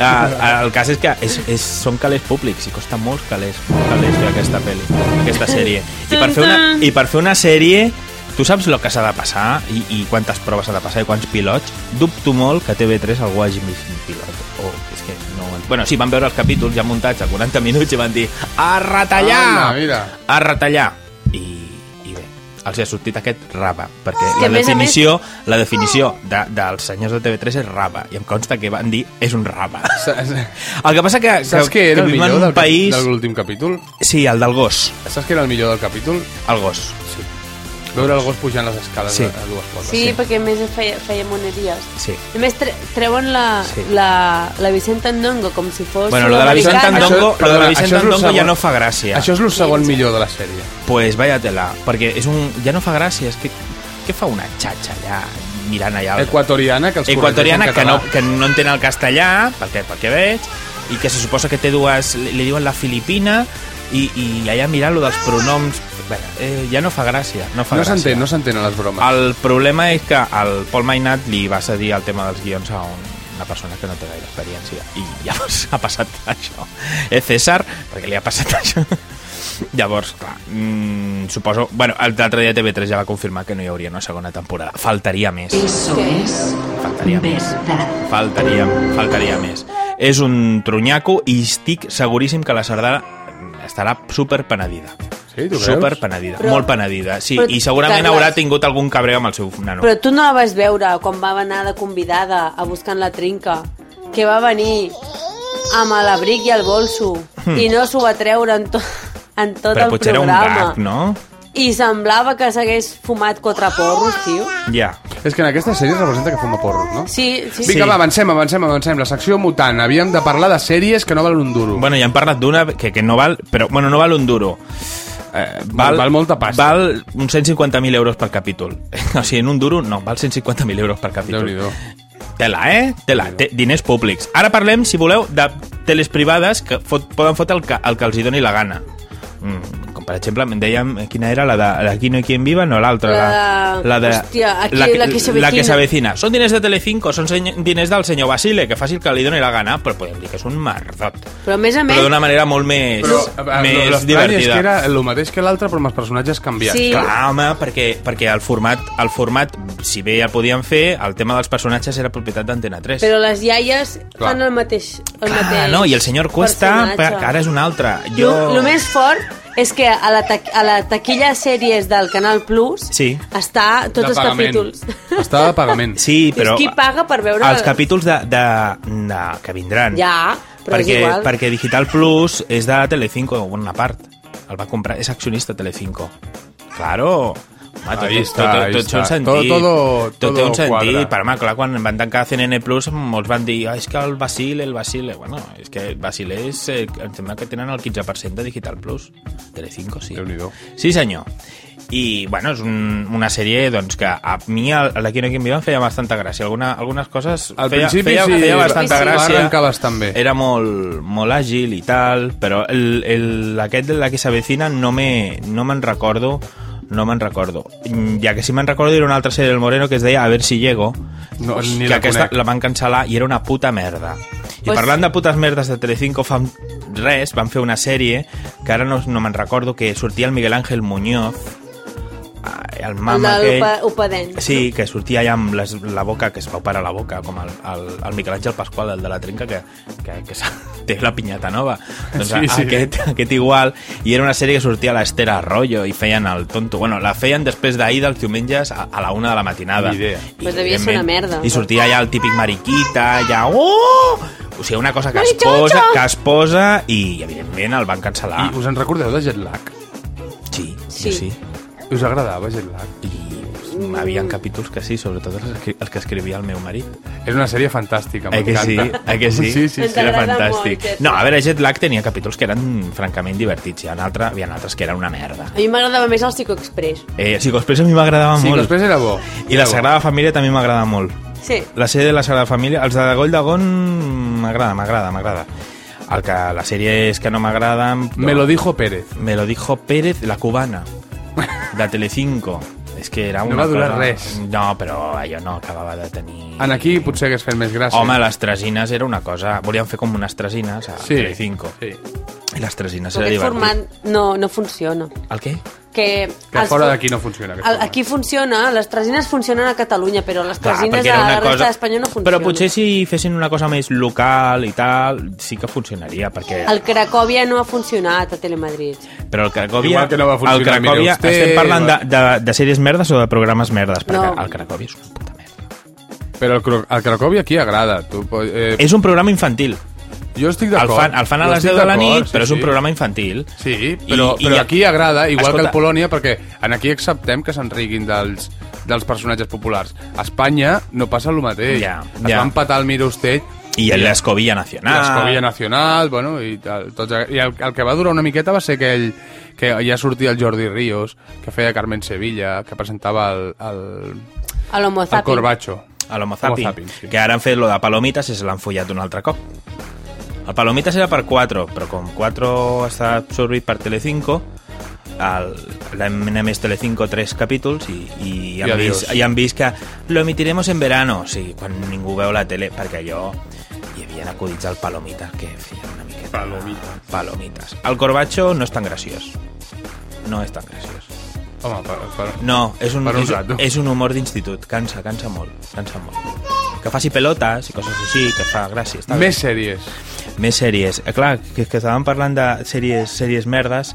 Ah, el cas és que és, és, són calés públics i costa molts calés, calés fer aquesta pel·li, aquesta sèrie. I per fer una, i per fer una sèrie Tu saps el que s'ha de passar i, i quantes proves s'ha de passar i quants pilots? Dubto molt que TV3 algú hagi vist un pilot. O és que no... ho ent- Bueno, sí, van veure els capítols ja muntats a 40 minuts i van dir a retallar!
Ah, mira.
A retallar! I, i bé, els hi ha sortit aquest raba, perquè
que a
la
més a més-
definició la definició de, dels senyors de TV3 és raba, i em consta que van dir és un raba.
Saps,
El que passa que,
saps
que,
què era
que
el
vivim
millor
en
del,
un país...
de l'últim capítol?
Sí, el del gos.
Saps què era el millor del capítol?
El gos. Sí.
Veure el gos pujant les escales
Sí.
a, a dues potes.
Sí, perquè a més feia, feia moneries.
Sí.
A més, tre treuen la,
Sí.
la, la Vicenta Andongo com si fos...
Bueno, lo de la Vicenta
sudamericana.
Andongo,
Això-
lo de
perdona,
la Vicenta
això és lo
Andongo ja
segon.
no fa gràcia.
Això és el segon millor de la sèrie.
Pues vaya tela, perquè és un... ja no fa gràcia, és que què fa una xatxa allà mirant allà? El...
Equatoriana, que els corregeix en
Eh, Equatoriana, que no,
català.
que no entén el castellà, perquè, perquè veig, i que se suposa que té dues... li, li diuen la filipina, i, i allà mirant lo dels pronoms... Bé, eh, ja no fa gràcia, no fa
No
gràcia.
s'entén, no s'entenen les bromes.
El problema és que al Paul Mainat li va cedir el tema dels guions a un, una persona que no té gaire experiència i llavors ha passat això eh César, perquè li ha passat això llavors, clar mm, suposo, bueno, l'altre dia TV3 ja va confirmar que no hi hauria una segona temporada faltaria més
Eso es
Faltaria més.
verdad.
faltaria, faltaria més és un trunyaco i estic seguríssim que la sardana estarà super penedida
Sí, tu veus?
super penedida,
Però-
molt penedida sí,
però,
i segurament
Carles-
haurà tingut algun cabreu amb el seu nano
Però tu no la vas veure quan va anar de convidada a buscant la trinca, que va venir amb l'abric i el bolso
Hmm.
i no s'ho va treure en, to en tot
Però
el
potser era un
programa.
gag, no?
I semblava que s'hagués fumat quatre porros, tio.
Ja.
És que en aquesta sèrie es representa que fuma porros, no?
Sí, sí.
Vinga, va, avancem, avancem, avancem. La secció mutant. Havíem de parlar de sèries que no valen un duro.
Bueno, ja hem parlat d'una que, que no val... Però, bueno, no val un duro. Eh,
Val- val molta pasta.
Val uns 150.000 euros per capítol. O sigui, en un duro, no, val 150.000 euros per capítol.
Déu-n'hi-do.
Tela, eh? Tela. Té diners públics. Ara parlem, si voleu, de teles privades que fot, poden fotre el que, el que els hi doni la gana. Mm, com, per exemple, em dèiem eh, quina era la de la Aquí no hi quien viva, no l'altra.
La de-
la, de,
hòstia, aquí
que-
la que se
la que
avecina.
s'avecina. Són diners de Telecinco, són seny- diners del senyor Basile, que faci el que li doni la gana, però podem dir que és un merdot
Però a més a més...
però d'una manera molt més,
Però, eh,
més
l'estrany és
divertida.
que era el mateix que l'altre, però amb els personatges canviats.
Sí.
Clar, home, perquè, perquè el, format, el format, si bé ja el podien fer, el tema dels personatges era propietat d'Antena 3.
Però les iaies
Clar.
fan el mateix, el
ah,
mateix
no, i el senyor Cuesta, pa,
personatge.
que ara és un altre.
Jo...
Jo...
Lo, lo més fort és que a la, ta a la taquilla de sèries del Canal Plus
Sí.
està tots els capítols.
Està de pagament.
Sí,
Però,
però
és qui paga per veure...
els capítols de, de, de, que vindran.
Ja, però
perquè,
és igual.
perquè Digital Plus és de Telecinco, una part. El va comprar, és accionista Telecinco. Claro. Home, tot, està, tot, tot, tot, té un sentit.
Todo, todo,
tot té un sentit.
quadra.
Per home, clar, quan van tancar CNN+, Plus, molts van dir, ah, és que el Basile, el Basile... Bueno, és que Basile és... Eh, em sembla que tenen el 15% de Digital Plus. Telecinco, sí. Sí, senyor. I, bueno, és un, una sèrie doncs, que a mi, el- a la Quino Quim Viva, em feia bastanta gràcia. Alguna, algunes coses
Al
feia,
principi
feia,
sí,
feia
va-
bastanta
sí, sí.
gràcia.
va arrencar bastant bé.
Era molt, molt àgil i tal, però el, el, aquest de la que s'avecina no me- no me'n no recordo no me'n recordo. Mm, Ja que si me'n recordo era una altra sèrie del Moreno que es deia A ver si llego,
No, ni
que
la
aquesta
conec.
la van cancel·lar i era una puta merda. I
Pues-
parlant de putes merdes de Telecinco fa res, van fer una sèrie que ara no, no me'n recordo que sortia el Miguel Ángel Muñoz ai, el mama
el del
aquell
Upa- Upadent.
Sí, que sortia allà amb les, la boca, que es va operar la boca, com el, el, el Miquel Àngel Pasqual, el de la trenca, que, que, que s'ha- té la pinyata nova. Doncs
Sí,
sí,
sí.
sí. Aquest, aquest igual. I era una sèrie que sortia a l'Ester Arroyo i feien el tonto. Bueno, la feien després d'ahir dels diumenges a, a la una de la matinada.
Ni idea.
I,
Pues devia ser una
evidentment,
merda.
I sortia allà el típic mariquita, allà... Oh! O sigui, una cosa que es
Marichocho!
posa, que es posa i, evidentment, el van cancel·lar.
I us en recordeu de Jetlag?
Sí,
Sí.
sí. sí.
Us agradava Jetlag?
Mm. Havien capítols que sí, sobretot els, escri- els que escrivia el meu marit.
És una sèrie fantàstica,
Eh que
m'encanta.
sí? Eh que sí?
Sí, sí,
Ens
sí.
Era
agrada
fantàstic.
molt, Jetlag.
No, a veure, Jetlag tenia capítols que eren francament divertits. Hi ha, altre, hi ha altres que eren una merda.
A mi m'agradava més el Psico Express.
Eh, Psicospress a mi m'agradava
Sí,
molt.
després era bo.
I La Sagrada Família també m'agrada molt.
Sí.
La sèrie de La Sagrada Família, els de Goll d'Agon, m'agrada, m'agrada, m'agrada. El que la sèrie és que no m'agraden... però-
Me lo dijo Pérez.
Me lo dijo Pérez, la cubana, de Telecinco. És que era
No
una
va durar
cosa...
res.
No, però allò no acabava de tenir...
En aquí potser hagués fet més gràcia.
Home, les tresines era una cosa... Volíem fer com unes tresines a
Sí,
Telecinco.
Sí.
I les tresines
Però
era
aquest
divertit.
format no, no funciona.
El què?
Que,
Que
els
fora
fu-
d'aquí no funciona. aquest
el, aquí funciona, les tresines funcionen a Catalunya, però les
Clar,
tresines
perquè era
a
una
la resta
cosa-
d'Espanya no funcionen.
Però potser si fessin una cosa més local i tal, sí que funcionaria, perquè...
El Cracòvia no ha funcionat a Telemadrid.
Però el Cracòvia...
Igual que no va funcionar,
el Cracòvia,
mire usted,
estem parlant de,
igual.
de, de sèries merdes o de programes merdes, perquè
No.
el Cracòvia és, un-
programa. Però el, Cro- el Cracòvia aquí agrada. Tu, po- eh,
és un programa infantil.
jo estic
El
d'acord.
fan, el fan a
Jo
les
estic
10 de la
d'acord,
nit,
sí,
però és un
sí.
programa infantil.
Sí, però,
I- i
però
ja-
aquí agrada, igual
Escolta-
que el Polònia, perquè en aquí acceptem que se'n riguin dels, dels personatges populars. A Espanya no passa el mateix.
Ja,
es
ja.
van patar el Mira Usted
I l'Escovilla Nacional.
l'Escovia Nacional, bueno, i, tal, tots, a- i el, el que va durar una miqueta va ser que ell que ja sortia el Jordi Ríos, que feia Carmen Sevilla, que presentava el, el,
A l'Homo
el
Zapping.
Corbacho.
A l'Homo Zapping,
Homo Zapping, sí.
que ara han fet lo de Palomitas i se l'han follat un altre cop. El Palomitas era per 4, però com 4 està absorbit per Telecinco, el, l'han emès Telecinco 3 capítols i, i, han
adiós.
vist, i han vist que lo emitiremos en verano, o sigui, quan ningú veu la tele, perquè allò hi havia acudits al Palomitas que feien una miqueta... Palomitas. Palomitas. El Corbacho no és tan graciós. No és tan graciós.
Home, per, per,
No, és un,
per un
és,
rato.
és un humor d'institut. Cansa, cansa molt, cansa molt. Que faci pelotes i coses així, que fa gràcies. Està
Més sèries.
Bé. Més sèries. Eh, clar, que, que estàvem parlant de sèries, sèries merdes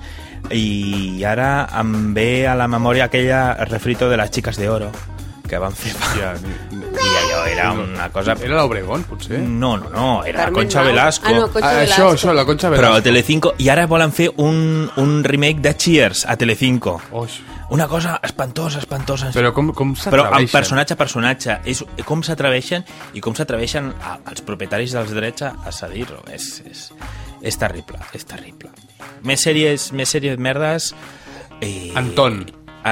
i ara em ve a la memòria aquella refrito de les xiques de oro que van fer fa...
Ja,
I allò era una cosa...
Era l'Obregón, potser?
No, no, no, era la
Carmen
Concha
Mau.
Velasco.
Ah, no, Concha
Ah,
Velasco.
això, això, la Concha
Però a
Velasco.
Telecinco... I ara volen fer un, un remake de Cheers a Telecinco.
Oix.
Una cosa espantosa, espantosa.
Però com, com
però amb
s'atreveixen?
personatge a personatge és com s'atreveixen i com s'atreveixen a- els propietaris dels drets a, a cedir-ho és, és, és terrible és terrible més sèries, més sèries merdes i...
Anton.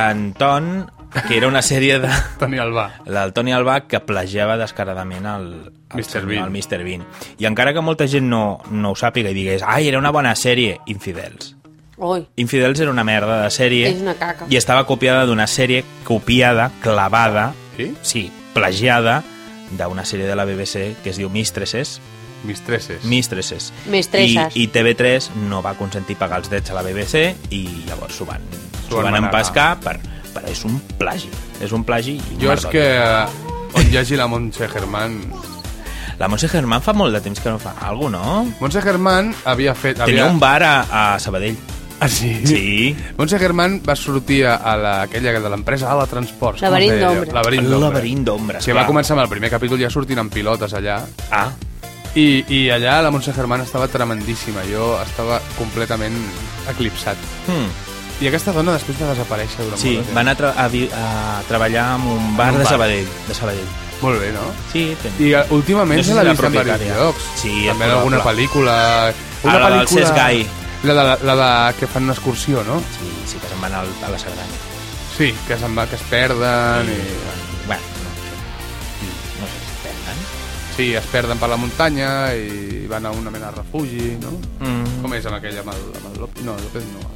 Anton que era una sèrie de
Toni Albà.
la del Tony Alba que plagiava descaradament el, el,
Mr.
senyor-
Bean.
el Mr. Bean. I encara que molta gent no, no ho sàpiga i digués ai, era una bona sèrie, Infidels.
Ui,
Infidels era una merda de sèrie
és una caca.
i estava copiada d'una sèrie copiada, clavada,
Sí?
sí, plagiada d'una sèrie de la BBC que es diu Mistresses,
Mistresses.
Mistresses.
Mistresses.
I, I TV3 no va consentir pagar els drets a la BBC i llavors s'ho van,
S'ho
s'ho
van
van
manar.
empescar per, per... és un plagi. És un plagi. i un
Jo és
merdot.
que eh, on hi hagi la Montse Germán...
La Montse Germán fa molt de temps que no fa alguna cosa, no?
Montse Germán havia fet... Havia...
Tenia un bar a, a Sabadell.
Ah, sí?
Sí.
Montse Germán va sortir a la, aquella de l'empresa Ala Transports. com
Laberint
es deia?
d'ombres.
Laberint
El
d'ombres.
laberint d'ombres.
Que va
clar.
començar amb el primer capítol ja sortint amb pilotes allà.
Ah,
I, i allà la Montse Germán estava tremendíssima. Jo estava completament eclipsat.
hmm.
I aquesta dona després va desaparèixer durant
Sí,
molt de temps.
van a, tra a, vi- a treballar en un bar,
un
de
bar.
Sabadell. De Sabadell.
Molt bé, no?
Sí, ten...
I eh, últimament
No
se
sé si
l'ha
la
vist en
propietària.
diversos llocs.
Sí,
També
és
en alguna
probable.
pel·lícula... Una
Ah, la del
pel·lícula...
Cesc Gai.
La de, la de que fan una excursió, no?
Sí, sí que se'n van al, a la Cerdanya.
Sí, que se'n va, que es perden... I...
Bueno, no sé. No sé, perden.
Sí, es perden per la muntanya i van a una mena de refugi, no?
Mm.
Com és amb aquella, amb el, amb el López? No, López no.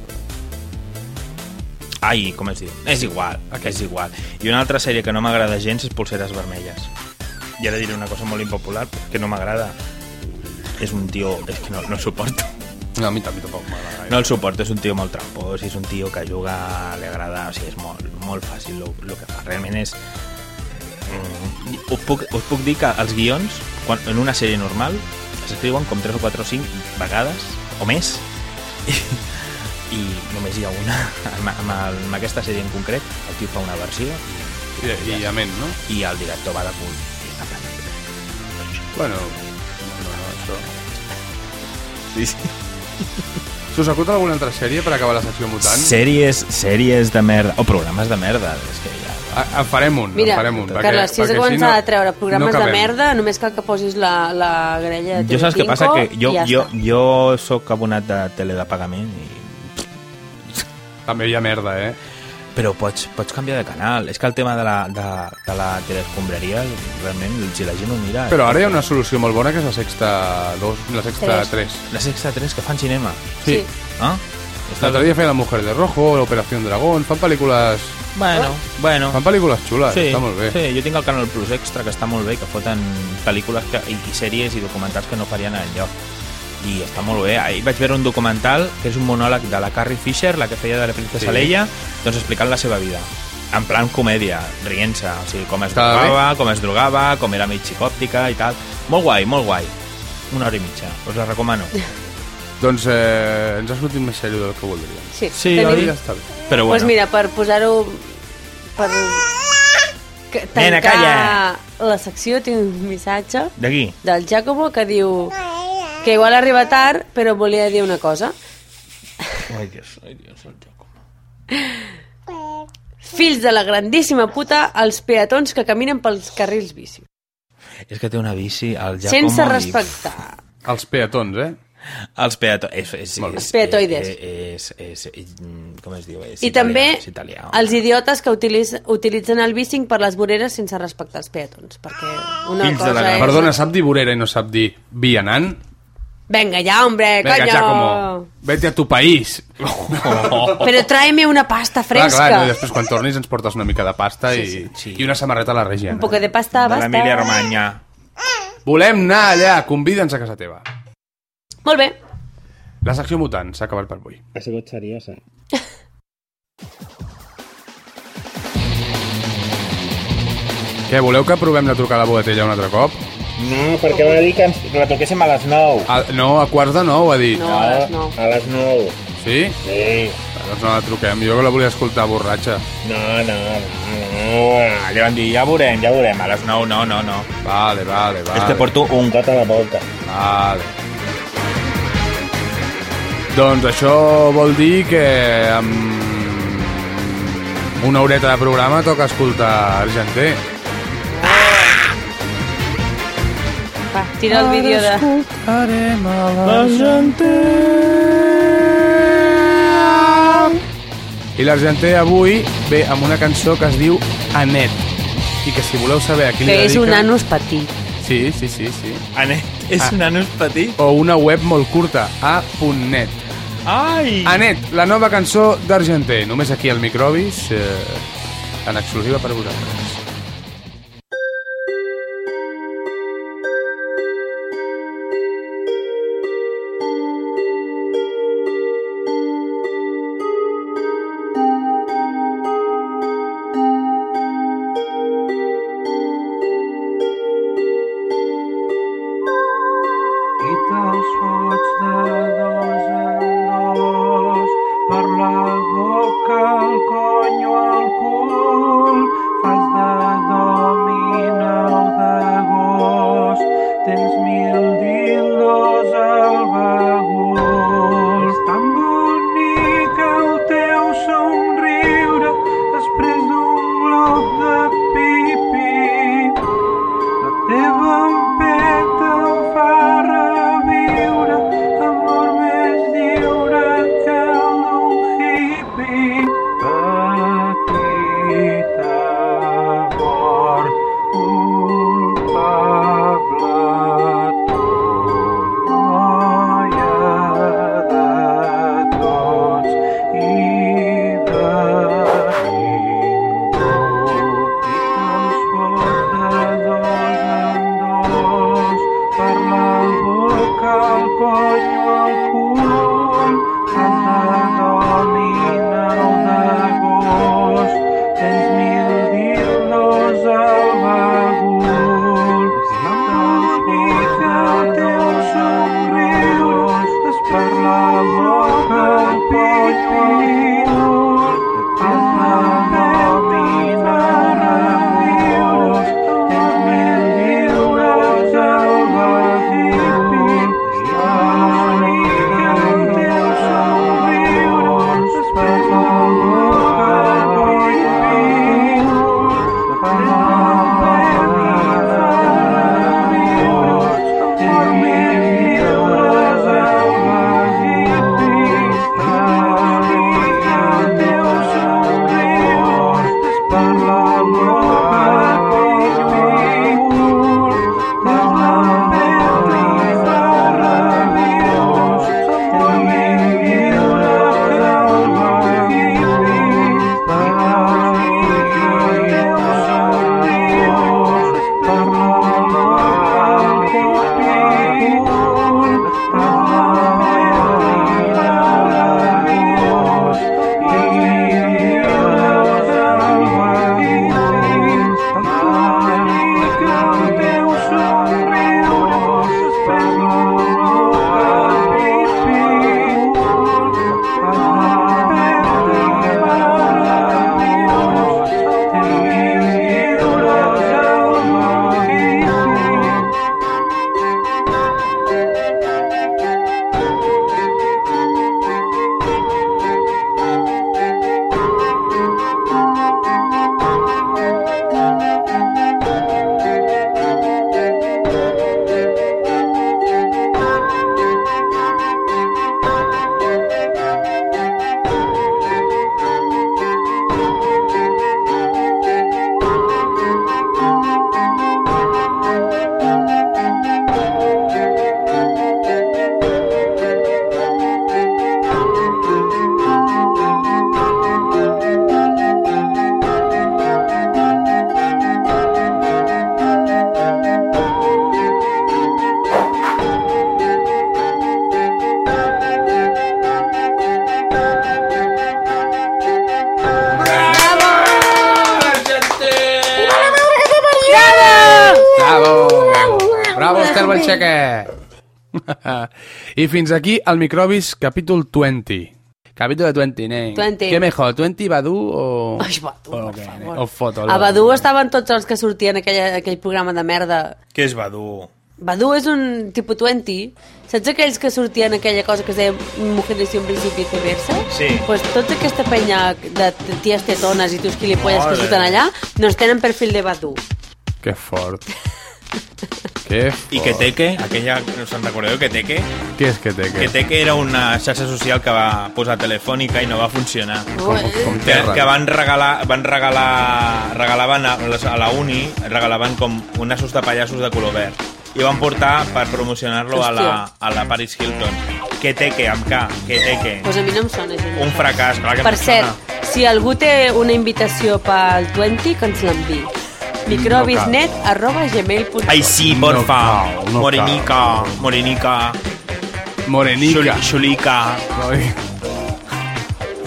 Ai, com es diu? És igual, és igual. I una altra sèrie que no m'agrada gens és Pulseres Vermelles. I ara diré una cosa molt impopular, que no m'agrada. És un tio... És que no, no el suporto.
No, a mi també tampoc m'agrada. gaire.
No el suporto, és un tio molt trampós, és un tio que juga, li agrada, o sigui, és molt, molt fàcil el que fa. Realment és... Mm, us, puc, us puc dir que els guions, quan, en una sèrie normal, s'escriuen com 3 o 4 o 5 vegades, o més, i, i només hi ha una. Amb, amb, el, amb aquesta sèrie en concret, el tio fa una versió
I, i, i amén, no?
i el director va de cul. I està plantejat.
Bueno, no, no, això...
Sí, sí.
Se us acut alguna altra sèrie per acabar la secció mutant?
Sèries, sèries de merda, o programes de merda, és que ja...
A, Ah, en farem un,
Mira,
en farem un.
Carles, si has de començar a treure
no
programes de
acabem.
merda, només cal que posis la, la grella de
Jo saps què
Telecinco
passa? Que jo,
i ja
jo,
està.
jo sóc abonat de tele de pagament i...
També hi ha merda, eh?
Però pots, pots canviar de canal. És que el tema de la, de, de la teleescombreria, realment, si la gent ho mira...
Però ara hi ha una solució molt bona que és la sexta 2, la sexta
Tres.
3.
La sexta 3 que fan cinema.
Sí.
Ah?
L'altre dia feia La Mujer de Rojo, L'Operación Dragón, fan pel·lícules...
Bueno, bueno.
Fan pel·lícules xules,
sí,
està molt bé.
Sí, jo tinc el Canal Plus Extra, que està molt bé, que foten pel·lícules que, i, i sèries i documentals que no farien enlloc. I està molt bé. Ahir vaig veure un documental que és un monòleg de la Carrie Fisher, la que feia de la princesa
Sí.
sí. Leia, doncs explicant la seva vida. En plan comèdia, rient-se, o sigui, com es
Estava bé.
drogava, com es drogava, com era mig psicòptica i tal. Molt guai, molt guai. Una hora i mitja, us la recomano.
Doncs eh, ens ha sortit més sèrio del que voldríem.
Sí, Sí, tenim- oi?
Ja està bé.
Però
Doncs
bueno,
pues mira, per posar-ho... Per... que-
Nena,
tancar
calla!
la secció tinc un missatge
d'aquí.
del Giacomo que diu que igual arriba tard, però volia dir una cosa.
Ai, Dios, ai, Dios, el joc.
Fills de la grandíssima puta, els peatons que caminen pels carrils bici.
És que té una bici al Giacomo.
sense
i-
respectar.
Els peatons, eh?
Els peato... És, és, és, eh,
Els peatoides.
És, és, és, mm, com es diu? És
I
italià,
també
És italià.
els idiotes que utilitzen, utilitzen el bicing per les voreres sense respectar els peatons, perquè una
Fills
cosa
de la...
és...
Perdona, sap dir vorera i no sap dir vianant?
Venga ya, hombre,
Vinga,
Eh, coño.
Giacomo, vete a tu país.
Però tráeme una pasta
Clar,
fresca.
clar, no, i després quan tornis ens portes una mica de pasta sí, sí, i, sí. i una samarreta a la
Un
Regiana.
poco de pasta, basta.
Romanya.
Volem anar allà, convida'ns a casa teva.
Molt bé.
La secció mutant s'ha acabat per avui.
Ha sigut eh? seriosa.
Què, voleu que provem de trucar a la Bogatella un altre cop?
No, perquè va dir que ens la toquéssim a les 9.
A, no, a quarts de nou, ha dit.
No, a les nou.
A les 9.
Sí?
Sí.
Ah, Doncs no la truquem, jo que la volia escoltar borratxa.
No, no, no, no. Allà van dir, ja veurem, ja veurem. A les 9, no, no, no.
Vale, vale, vale.
És que Ah. porto un...
Tot a la volta.
Vale. Doncs això vol dir que amb una horeta de programa toca escoltar Argenter.
Va, tira el vídeo de...
Ah.
I l'Argenter avui ve amb una cançó que es diu Anet. I que si voleu saber a qui li
Que és
dedica...
un anus petit.
Sí, sí, sí, sí.
Anet, és
Ah.
un anus petit?
O una web molt curta, a.net.
Ai!
Anet, la nova cançó d'Argenter. Només aquí al Microbis, eh, en exclusiva per vosaltres.
I te'ls fots de dos en dos, per la boca, el conyo, el cul, fas de
Bravo! Bravo, Esther Balcheque! I fins aquí el Microbis capítol 20. Capítol 20, nen.
20.
Què mejor, 20 Badu o...
Ai, Badu,
o, per favor. O foto.
A Badu estaven tots els que sortien aquell, aquell programa de merda.
Què és Badu?
Badu és un tipus 20. Saps aquells que sortien aquella cosa que es deia Mujeres y hombres y viceversa?
Sí.
Pues tota aquesta penya de t- ties tetones i tios quilipolles que
Ole.
surten allà, doncs tenen perfil de Badu.
Que fort. que fort.
I
Oh.
que Teque, aquella, no se'n recordeu, que Teque?
Què és que té? Que,
Que Teque era una xarxa social que va posar telefònica i no va funcionar.
Com- com
que,
terra.
que van regalar, van regalar, regalaven a, les- a la uni, regalaven com un nassos de pallassos de color verd. I van portar per promocionar-lo a, la, a la Paris Hilton. Que Teque, amb K, que Teque.
Pues a mi no em sona. Gent.
Un fracàs, clar que em
Per cert,
sona.
si algú té una invitació pel 20, que ens l'enviï.
Mm,
microbisnet arroba gmail.com
Ai, sí, por
No
fa.
cal, no
morenica, morenica,
Morenica.
xul- xulica,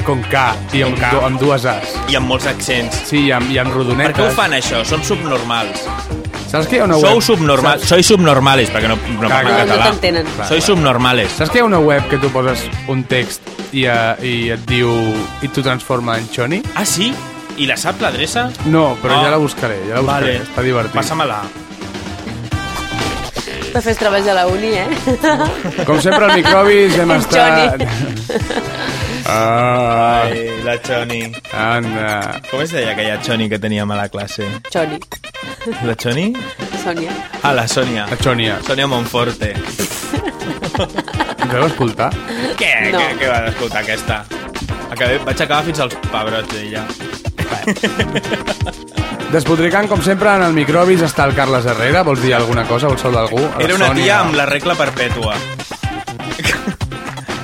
Con K. I amb,
K.
do, amb dues As.
i amb molts accents.
Sí, i amb, i amb
Per
rodonetes.
què ho fan, això? Són subnormals.
Saps que hi ha una
Sou
web...
subnormals. Sois subnormales, perquè no, no
Caga.
parlen
No, no
català.
t'entenen.
Clar,
Sois
clar.
subnormales.
Saps que hi ha una web que tu poses un text i, uh, i et diu... i t'ho transforma en Choni?
Ah, sí? I la sap l'adreça?
No, però
Ah.
ja la buscaré, ja la buscaré.
Vale.
Està divertit.
Passa-me-la.
Per fer els treballs a la uni, eh?
Com sempre, al Microbis hem
En
estat... Ah,
Ai, Eh, la Choni.
Anna.
Com es deia aquella Choni que teníem a la classe?
Choni.
La Choni?
Sònia.
Ah, la Sònia.
La Xònia.
Sònia Monforte.
Ens vau escoltar?
Què?
No.
Què, què va escoltar aquesta? Acabé, vaig acabar fins als pebrots d'ella.
Despotricant, com sempre, en el Microbis està el Carles Herrera. Vols dir alguna cosa? Vols saludar algú? A la
Era una
Sònia.
tia amb la regla perpètua.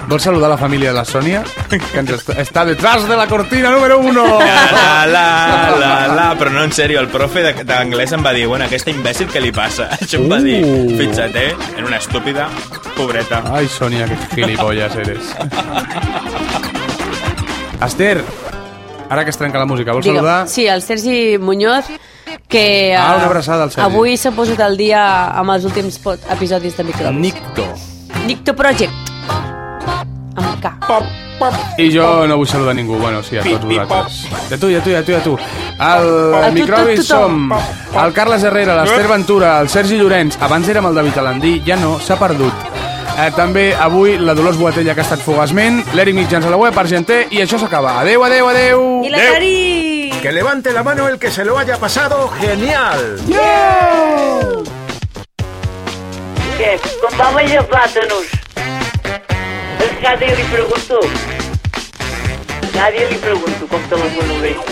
Vols saludar la família de la Sònia? Que ens està, està detrás de la cortina número 1!
La, la, la, la, però no, en sèrio, el profe de- d'anglès em va dir, bueno, aquesta imbècil, què li passa? Això em va dir,
Uh.
fixa't, eh? Era una estúpida, pobreta.
Ai, Sònia, que gilipolles eres. Esther, ara que es trenca la música, vols
Digue'm.
saludar?
Sí, el Sergi Muñoz, que
Ah,
eh,
una abraçada al Sergi.
avui s'ha posat al dia amb els últims po- episodis de Microbis.
Nicto.
Nicto Project. Amb K.
I jo no vull saludar ningú, bueno, sí, a tots vosaltres. De tu, i a tu, i a tu, i a tu. Al
A tu,
Microbis
tot, tothom. Eh?
som el Carles Herrera, l'Ester Ventura, el Sergi Llorenç, abans érem el David Alandí, ja no, s'ha perdut. Eh, també avui la Dolors Boatella que ha estat fugaçment, l'Eric Mitjans a la web, Argenter, i això s'acaba. Adeu, adeu, adeu!
I la Cari!
Que levante la mano el que se lo haya pasado genial.
Què? Com va menjar plàtanos? És que nadie li pregunto. Nadie li pregunto com te les monobreixes.